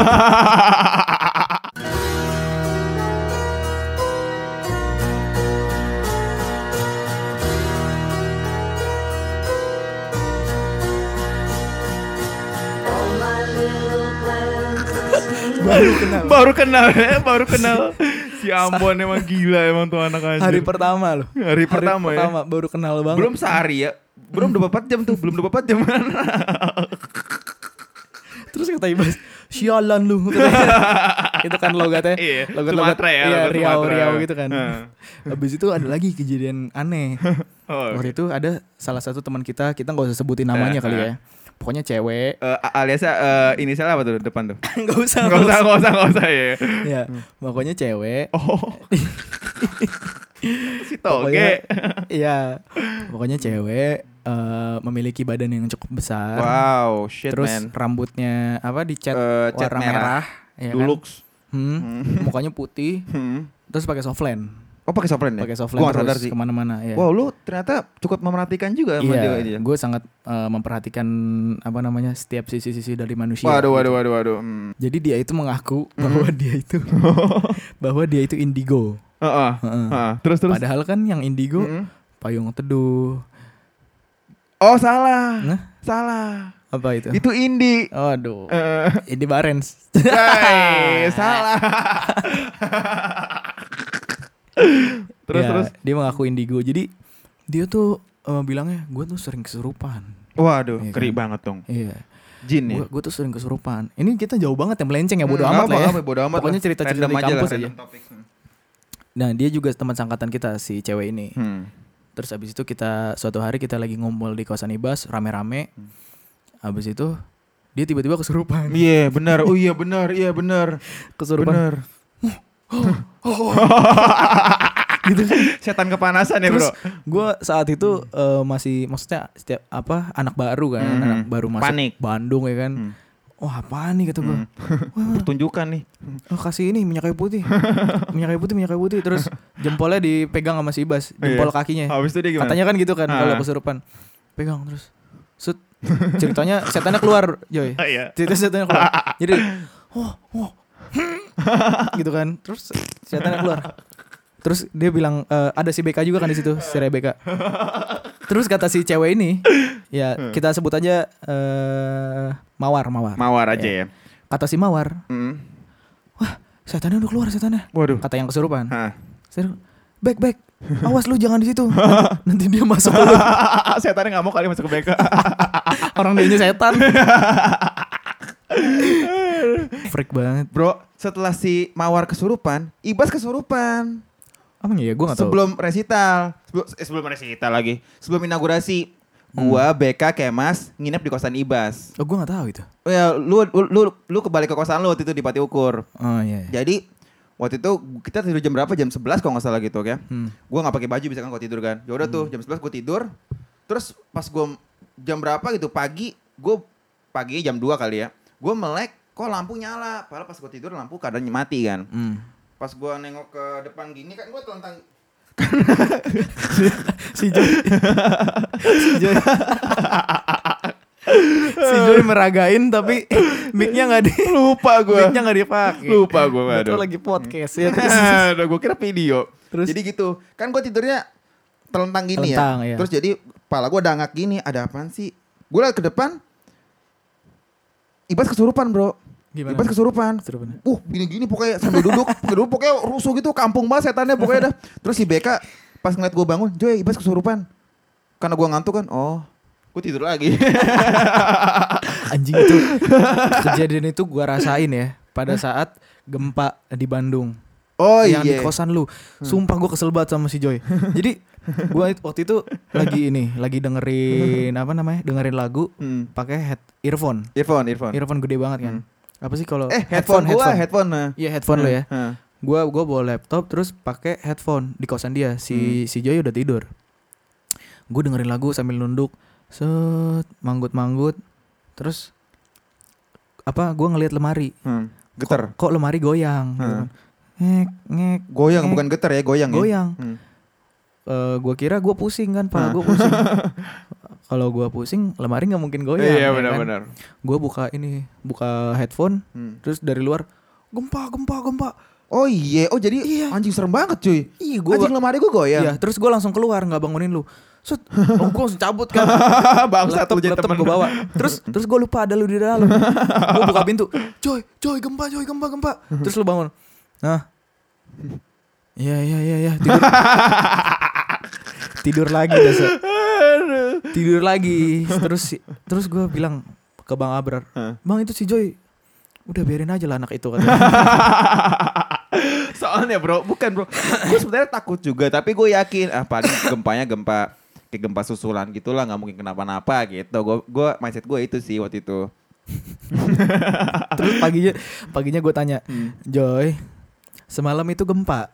Speaker 1: Baru kenal.
Speaker 2: [LAUGHS] baru kenal ya, baru kenal. Si Ambon emang gila emang tuh anak anjir.
Speaker 1: Hari pertama loh.
Speaker 2: Hari pertama ya?
Speaker 1: baru kenal banget.
Speaker 2: belum sehari ya. Belum 24 jam tuh, belum 24 [LAUGHS] jam.
Speaker 1: Terus kata Ibas, "Sialan
Speaker 2: [LAUGHS]
Speaker 1: lu." Gitu itu kan logatnya.
Speaker 2: Iya,
Speaker 1: Logat-logat
Speaker 2: Sumatera ya,
Speaker 1: iya,
Speaker 2: logat
Speaker 1: Riau,
Speaker 2: Sumatera.
Speaker 1: Riau gitu kan.
Speaker 2: Heeh.
Speaker 1: [LAUGHS] Habis itu ada lagi kejadian
Speaker 2: [LAUGHS]
Speaker 1: aneh.
Speaker 2: Oh,
Speaker 1: Waktu itu ada salah satu teman kita, kita nggak usah sebutin namanya
Speaker 2: Eh,
Speaker 1: kali
Speaker 2: eh.
Speaker 1: ya. Pokoknya cewek.
Speaker 2: Eh, aliasnya eh, inisial apa tuh depan tuh?
Speaker 1: [LAUGHS] Nggak usah. Iya,
Speaker 2: Enggak usah, enggak usah, enggak usah ya.
Speaker 1: Ya, pokoknya cewek.
Speaker 2: iya, Oh. si
Speaker 1: Pokoknya- Iya. Pokoknya cewek eh, memiliki badan yang cukup
Speaker 2: Ah.
Speaker 1: besar.
Speaker 2: Wow, shit
Speaker 1: terus
Speaker 2: man.
Speaker 1: rambutnya apa dicat
Speaker 2: Eh, cat
Speaker 1: warna merah,
Speaker 2: merah.
Speaker 1: ya kan?
Speaker 2: Dulux.
Speaker 1: Hmm,
Speaker 2: Hmm.
Speaker 1: mukanya putih,
Speaker 2: Hmm.
Speaker 1: terus pakai softland,
Speaker 2: Oh pakai softlens ya?
Speaker 1: pakai softland
Speaker 2: Gua nggak sadar
Speaker 1: terus
Speaker 2: sih.
Speaker 1: kemana-mana. Iya.
Speaker 2: Wow, lu ternyata cukup memerhatikan juga sama dia ini.
Speaker 1: Iya, gue sangat eh, memperhatikan apa namanya setiap sisi-sisi dari manusia. Gitu.
Speaker 2: Waduh, waduh, Hmm. waduh, waduh. Hmm.
Speaker 1: Jadi dia itu mengaku bahwa dia
Speaker 2: [LAUGHS]
Speaker 1: itu bahwa dia itu indigo.
Speaker 2: Heeh.
Speaker 1: Heeh.
Speaker 2: Heeh. Terus terus. Hmm.
Speaker 1: Padahal kan yang indigo
Speaker 2: Mm-mm.
Speaker 1: payung teduh
Speaker 2: Oh salah,
Speaker 1: Nah.
Speaker 2: salah.
Speaker 1: apa itu?
Speaker 2: Itu
Speaker 1: [LAUGHS]
Speaker 2: Indi.
Speaker 1: Aduh,
Speaker 2: Eh,
Speaker 1: ini Barents.
Speaker 2: hey, salah. terus
Speaker 1: Ya,
Speaker 2: [LAUGHS] terus.
Speaker 1: Dia mengaku indigo. Jadi dia tuh eh, bilangnya gue tuh sering kesurupan.
Speaker 2: Waduh,
Speaker 1: Iya kan?
Speaker 2: keri banget dong.
Speaker 1: Iya.
Speaker 2: Jin ya.
Speaker 1: Gue tuh sering kesurupan. Ini kita jauh banget ya melenceng ya bodo
Speaker 2: Hmm,
Speaker 1: amat
Speaker 2: nggak
Speaker 1: lah ya.
Speaker 2: apa-apa, bodo amat
Speaker 1: Pokoknya
Speaker 2: lah.
Speaker 1: cerita-cerita
Speaker 2: Random
Speaker 1: di kampus
Speaker 2: lah,
Speaker 1: aja.
Speaker 2: random topic.
Speaker 1: Nah, dia juga teman sangkatan kita si cewek ini.
Speaker 2: Hmm.
Speaker 1: Terus abis itu kita suatu hari kita lagi ngumpul di kosan Ibas rame-rame. Abis itu dia tiba-tiba kesurupan.
Speaker 2: Hmm. Iya, benar. Oh iya, benar. Iya, benar.
Speaker 1: [LAUGHS] Kesurupan. [LAUGHS]
Speaker 2: Benar. Setan kepanasan ya,
Speaker 1: Gitu kan? Terus
Speaker 2: Bro.
Speaker 1: gue saat itu eh, masih maksudnya setiap apa anak baru kan,
Speaker 2: Hmm.
Speaker 1: anak baru masuk
Speaker 2: Panik.
Speaker 1: Bandung ya kan.
Speaker 2: Hmm.
Speaker 1: Wah apaan nih kata gue.
Speaker 2: Hmm. Pertunjukan nih.
Speaker 1: Oh, kasih ini minyak kayu
Speaker 2: [LAUGHS]
Speaker 1: putih. minyak kayu putih, minyak kayu putih. Terus jempolnya dipegang sama si Ibas, jempol
Speaker 2: Iya.
Speaker 1: kakinya.
Speaker 2: Habis itu dia gimana?
Speaker 1: Katanya kan gitu kan
Speaker 2: Ah.
Speaker 1: kalau kesurupan. Pegang terus. Sut. Ceritanya setannya keluar, Joy.
Speaker 2: Ah, iya.
Speaker 1: Cerita setannya keluar.
Speaker 2: [LAUGHS]
Speaker 1: Jadi, oh, oh. gitu kan. Terus setannya keluar. Terus dia bilang e, ada si BK juga kan di situ, si Rebecca. Terus kata si cewek ini, ya
Speaker 2: Hmm.
Speaker 1: kita sebut aja eh Mawar, Mawar.
Speaker 2: Mawar aja
Speaker 1: Iya.
Speaker 2: ya.
Speaker 1: Kata si Mawar,
Speaker 2: Hmm.
Speaker 1: setannya udah keluar setannya.
Speaker 2: Waduh.
Speaker 1: Kata yang kesurupan. [LAUGHS]
Speaker 2: Hah.
Speaker 1: Seru. Back back. Awas lu jangan di situ. [LAUGHS] Nanti, nanti dia masuk ke lu.
Speaker 2: Setannya nggak mau kali masuk ke BK.
Speaker 1: Orang dianya
Speaker 2: [LAUGHS]
Speaker 1: setan. Freak banget.
Speaker 2: Bro, setelah si Mawar kesurupan, Ibas kesurupan.
Speaker 1: Apa ya? Gue gak tau.
Speaker 2: Sebelum resital, sebelum, eh, sebelum resital lagi, sebelum inaugurasi, gua BK Kemas nginep di kosan Ibas.
Speaker 1: Oh, gue gak tahu itu.
Speaker 2: Oh Ya, lu lu lu, lu kebalik ke kosan lu waktu itu di Pati Ukur.
Speaker 1: Oh iya. iya.
Speaker 2: Jadi waktu itu kita tidur jam berapa? Jam 11 kalau nggak salah gitu ya.
Speaker 1: Hmm.
Speaker 2: Gua nggak pakai baju bisa kan kalau tidur kan. Ya udah tuh jam 11 gua tidur. Terus pas gua jam berapa gitu pagi, gua pagi jam 2 kali ya. Gua melek kok lampu nyala. Padahal pas gua tidur lampu kadang mati kan.
Speaker 1: Hmm.
Speaker 2: Pas gua nengok ke depan gini kan gua telentang
Speaker 1: [LAUGHS] Si Joy. [LAUGHS] si Joy. si Joy meragain
Speaker 2: [LAUGHS]
Speaker 1: tapi mic-nya gak di
Speaker 2: lupa gua.
Speaker 1: mic-nya gak dipakai.
Speaker 2: Lupa gua, Hmm.
Speaker 1: Nggak tahu
Speaker 2: aduh.
Speaker 1: lagi podcast ya.
Speaker 2: [LAUGHS]
Speaker 1: [LAUGHS]
Speaker 2: Aduh, gue kira video.
Speaker 1: Terus?
Speaker 2: Jadi gitu, kan gue tidurnya telentang gini
Speaker 1: Telentang,
Speaker 2: ya.
Speaker 1: iya.
Speaker 2: Terus jadi kepala gue dangak gini, ada apaan sih? Gue liat ke depan, Ibas kesurupan bro.
Speaker 1: Gimana?
Speaker 2: Ibas kesurupan.
Speaker 1: Kesurupan.
Speaker 2: Uh, gini-gini pokoknya sambil duduk, [LAUGHS] sambil duduk pokoknya rusuh gitu, kampung banget setannya pokoknya dah. Terus si BK pas ngeliat gue bangun, Joy Ibas kesurupan. Karena gue ngantuk kan, oh gue tidur lagi.
Speaker 1: Anjing itu kejadian itu gua rasain ya pada saat gempa di Bandung.
Speaker 2: [LAUGHS] oh
Speaker 1: yang di
Speaker 2: iya.
Speaker 1: kosan lu. Sumpah gue kesel banget sama si Joy. Jadi gue waktu itu lagi ini, lagi dengerin apa namanya? Dengerin lagu
Speaker 2: Hmm.
Speaker 1: pakai head earphone.
Speaker 2: Earphone, earphone. Hmm.
Speaker 1: Earphone gede banget kan. Apa sih kalau
Speaker 2: Eh, headphone, gue, headphone. nah. hmm,
Speaker 1: Iya headphone lo ya.
Speaker 2: Hah.
Speaker 1: Gue gua bawa laptop terus pakai headphone di kosan dia.
Speaker 2: Hmm.
Speaker 1: Si si Joy udah tidur. Gue dengerin lagu sambil nunduk, set manggut-manggut. Terus apa gue ngelihat lemari
Speaker 2: Hmm. Getar.
Speaker 1: kok lemari goyang gitu
Speaker 2: Hmm.
Speaker 1: kan. ngek ngek
Speaker 2: Goyang
Speaker 1: ngek.
Speaker 2: bukan getar ya, goyang ya.
Speaker 1: Eh. Goyang.
Speaker 2: Hmm.
Speaker 1: eh gue kira gue pusing kan,
Speaker 2: Ah.
Speaker 1: pak gue pusing. [LAUGHS] Kalau gue pusing, lemari nggak mungkin goyang.
Speaker 2: Iya
Speaker 1: ya Kan?
Speaker 2: benar-benar.
Speaker 1: Gue buka ini, buka headphone,
Speaker 2: Hmm.
Speaker 1: terus dari luar gempa, gempa, gempa.
Speaker 2: Oh iya, oh jadi
Speaker 1: Iya.
Speaker 2: anjing serem banget cuy.
Speaker 1: Iya, gua-
Speaker 2: anjing lemari gue goyang.
Speaker 1: Iya, terus gue langsung keluar nggak bangunin lu. Set, oh, gue langsung cabut kan.
Speaker 2: [LAUGHS] [LAUGHS] Bangsat lu jadi temen.
Speaker 1: gue bawa. Terus terus gue lupa ada lu di dalam. gue buka pintu, coy, coy gempa, coy gempa, gempa. Terus lu bangun. Nah, iya iya iya iya
Speaker 2: [LAUGHS]
Speaker 1: tidur. tidur lagi dasar. tidur lagi terus terus gue bilang ke bang Abrar
Speaker 2: Hah.
Speaker 1: bang itu si Joy udah biarin aja lah anak itu katanya
Speaker 2: [LAUGHS] Soalnya bro, bukan [COUGHS] bro. gue sebenarnya takut juga, tapi gue yakin ah paling gempanya gempa kayak gempa susulan gitulah nggak mungkin kenapa-napa gitu. Gue gue mindset gue itu sih waktu itu.
Speaker 1: [LAUGHS]
Speaker 2: Hmm.
Speaker 1: terus paginya paginya gue tanya Joy semalam itu gempa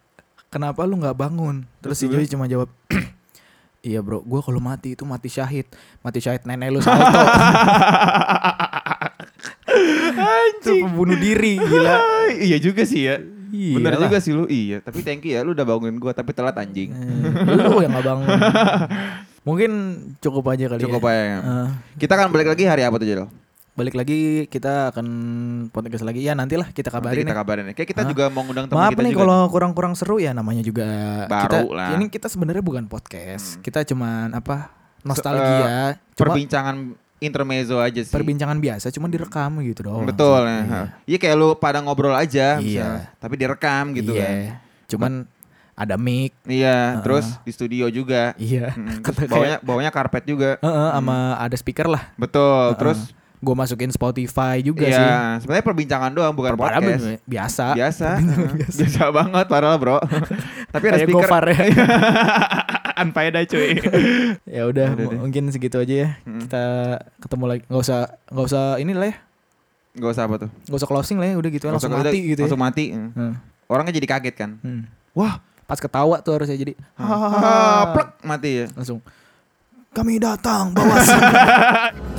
Speaker 1: kenapa lu nggak bangun terus si
Speaker 2: Terus
Speaker 1: Joy cuma jawab [CLEARS THROAT] iya bro gue kalau mati itu mati syahid mati syahid nenek lu
Speaker 2: [LAUGHS]
Speaker 1: salto itu bunuh diri gila
Speaker 2: Hai, iya juga sih ya. Bener
Speaker 1: Iyalah.
Speaker 2: juga sih lu. Iya, tapi thank you ya lu udah bangunin gua tapi telat anjing.
Speaker 1: Eh, lu yang nggak
Speaker 2: [LAUGHS]
Speaker 1: bangun mungkin cukup aja kali
Speaker 2: Cukup
Speaker 1: ya.
Speaker 2: aja.
Speaker 1: Eh,
Speaker 2: Kita akan balik lagi hari apa tuh, Jel?
Speaker 1: balik lagi kita akan podcast lagi ya nantilah kita
Speaker 2: Nanti
Speaker 1: kabarin
Speaker 2: kita
Speaker 1: ya.
Speaker 2: kabarin. ya. Kayak kita
Speaker 1: Hah?
Speaker 2: juga mau ngundang teman
Speaker 1: Maaf nih
Speaker 2: kita juga. gitu.
Speaker 1: kalau kurang-kurang seru ya namanya juga
Speaker 2: Baru
Speaker 1: kita,
Speaker 2: lah. Hmm.
Speaker 1: Ini kita sebenarnya bukan podcast, kita cuman apa
Speaker 2: eh,
Speaker 1: nostalgia, cuma
Speaker 2: perbincangan intermezzo aja sih.
Speaker 1: perbincangan biasa, cuman direkam gitu doang.
Speaker 2: Betul. ya.
Speaker 1: Iya.
Speaker 2: Iya kayak lu pada ngobrol aja
Speaker 1: Iya.
Speaker 2: misalnya, tapi direkam gitu
Speaker 1: Iya.
Speaker 2: kan.
Speaker 1: Cuman ada mic,
Speaker 2: Iya,
Speaker 1: Heeh.
Speaker 2: terus di studio juga.
Speaker 1: iya. [LAUGHS]
Speaker 2: Mm,
Speaker 1: Kata
Speaker 2: Terus
Speaker 1: kayak,
Speaker 2: bawahnya bawahnya karpet juga.
Speaker 1: "Eh, eh, sama ada speaker lah.
Speaker 2: Betul. Terus
Speaker 1: Gue masukin Spotify juga
Speaker 2: Iya,
Speaker 1: sih. ya.
Speaker 2: sebenarnya perbincangan doang bukan
Speaker 1: Padahal
Speaker 2: podcast.
Speaker 1: biasa.
Speaker 2: Biasa. Heeh. biasa. banget padahal,
Speaker 1: [LAUGHS]
Speaker 2: Bro. Tapi ada
Speaker 1: Kayak
Speaker 2: speaker.
Speaker 1: Gofar
Speaker 2: [LAUGHS]
Speaker 1: ya.
Speaker 2: Unfaedah cuy.
Speaker 1: ya udah,
Speaker 2: Udah Hmm. deh.
Speaker 1: mungkin segitu aja ya. Kita ketemu lagi. Gak usah, gak usah ini lah ya.
Speaker 2: Gak usah apa tuh.
Speaker 1: Gak usah closing lah ya. Udah gitu ya. Langsung
Speaker 2: Langsung-
Speaker 1: mati gitu ya.
Speaker 2: Langsung mati. mm.
Speaker 1: Hmm.
Speaker 2: Orangnya jadi kaget kan.
Speaker 1: Hmm.
Speaker 2: Wah,
Speaker 1: Pas ketawa tuh harusnya jadi
Speaker 2: ah, plek mati ya.
Speaker 1: langsung kami datang bawa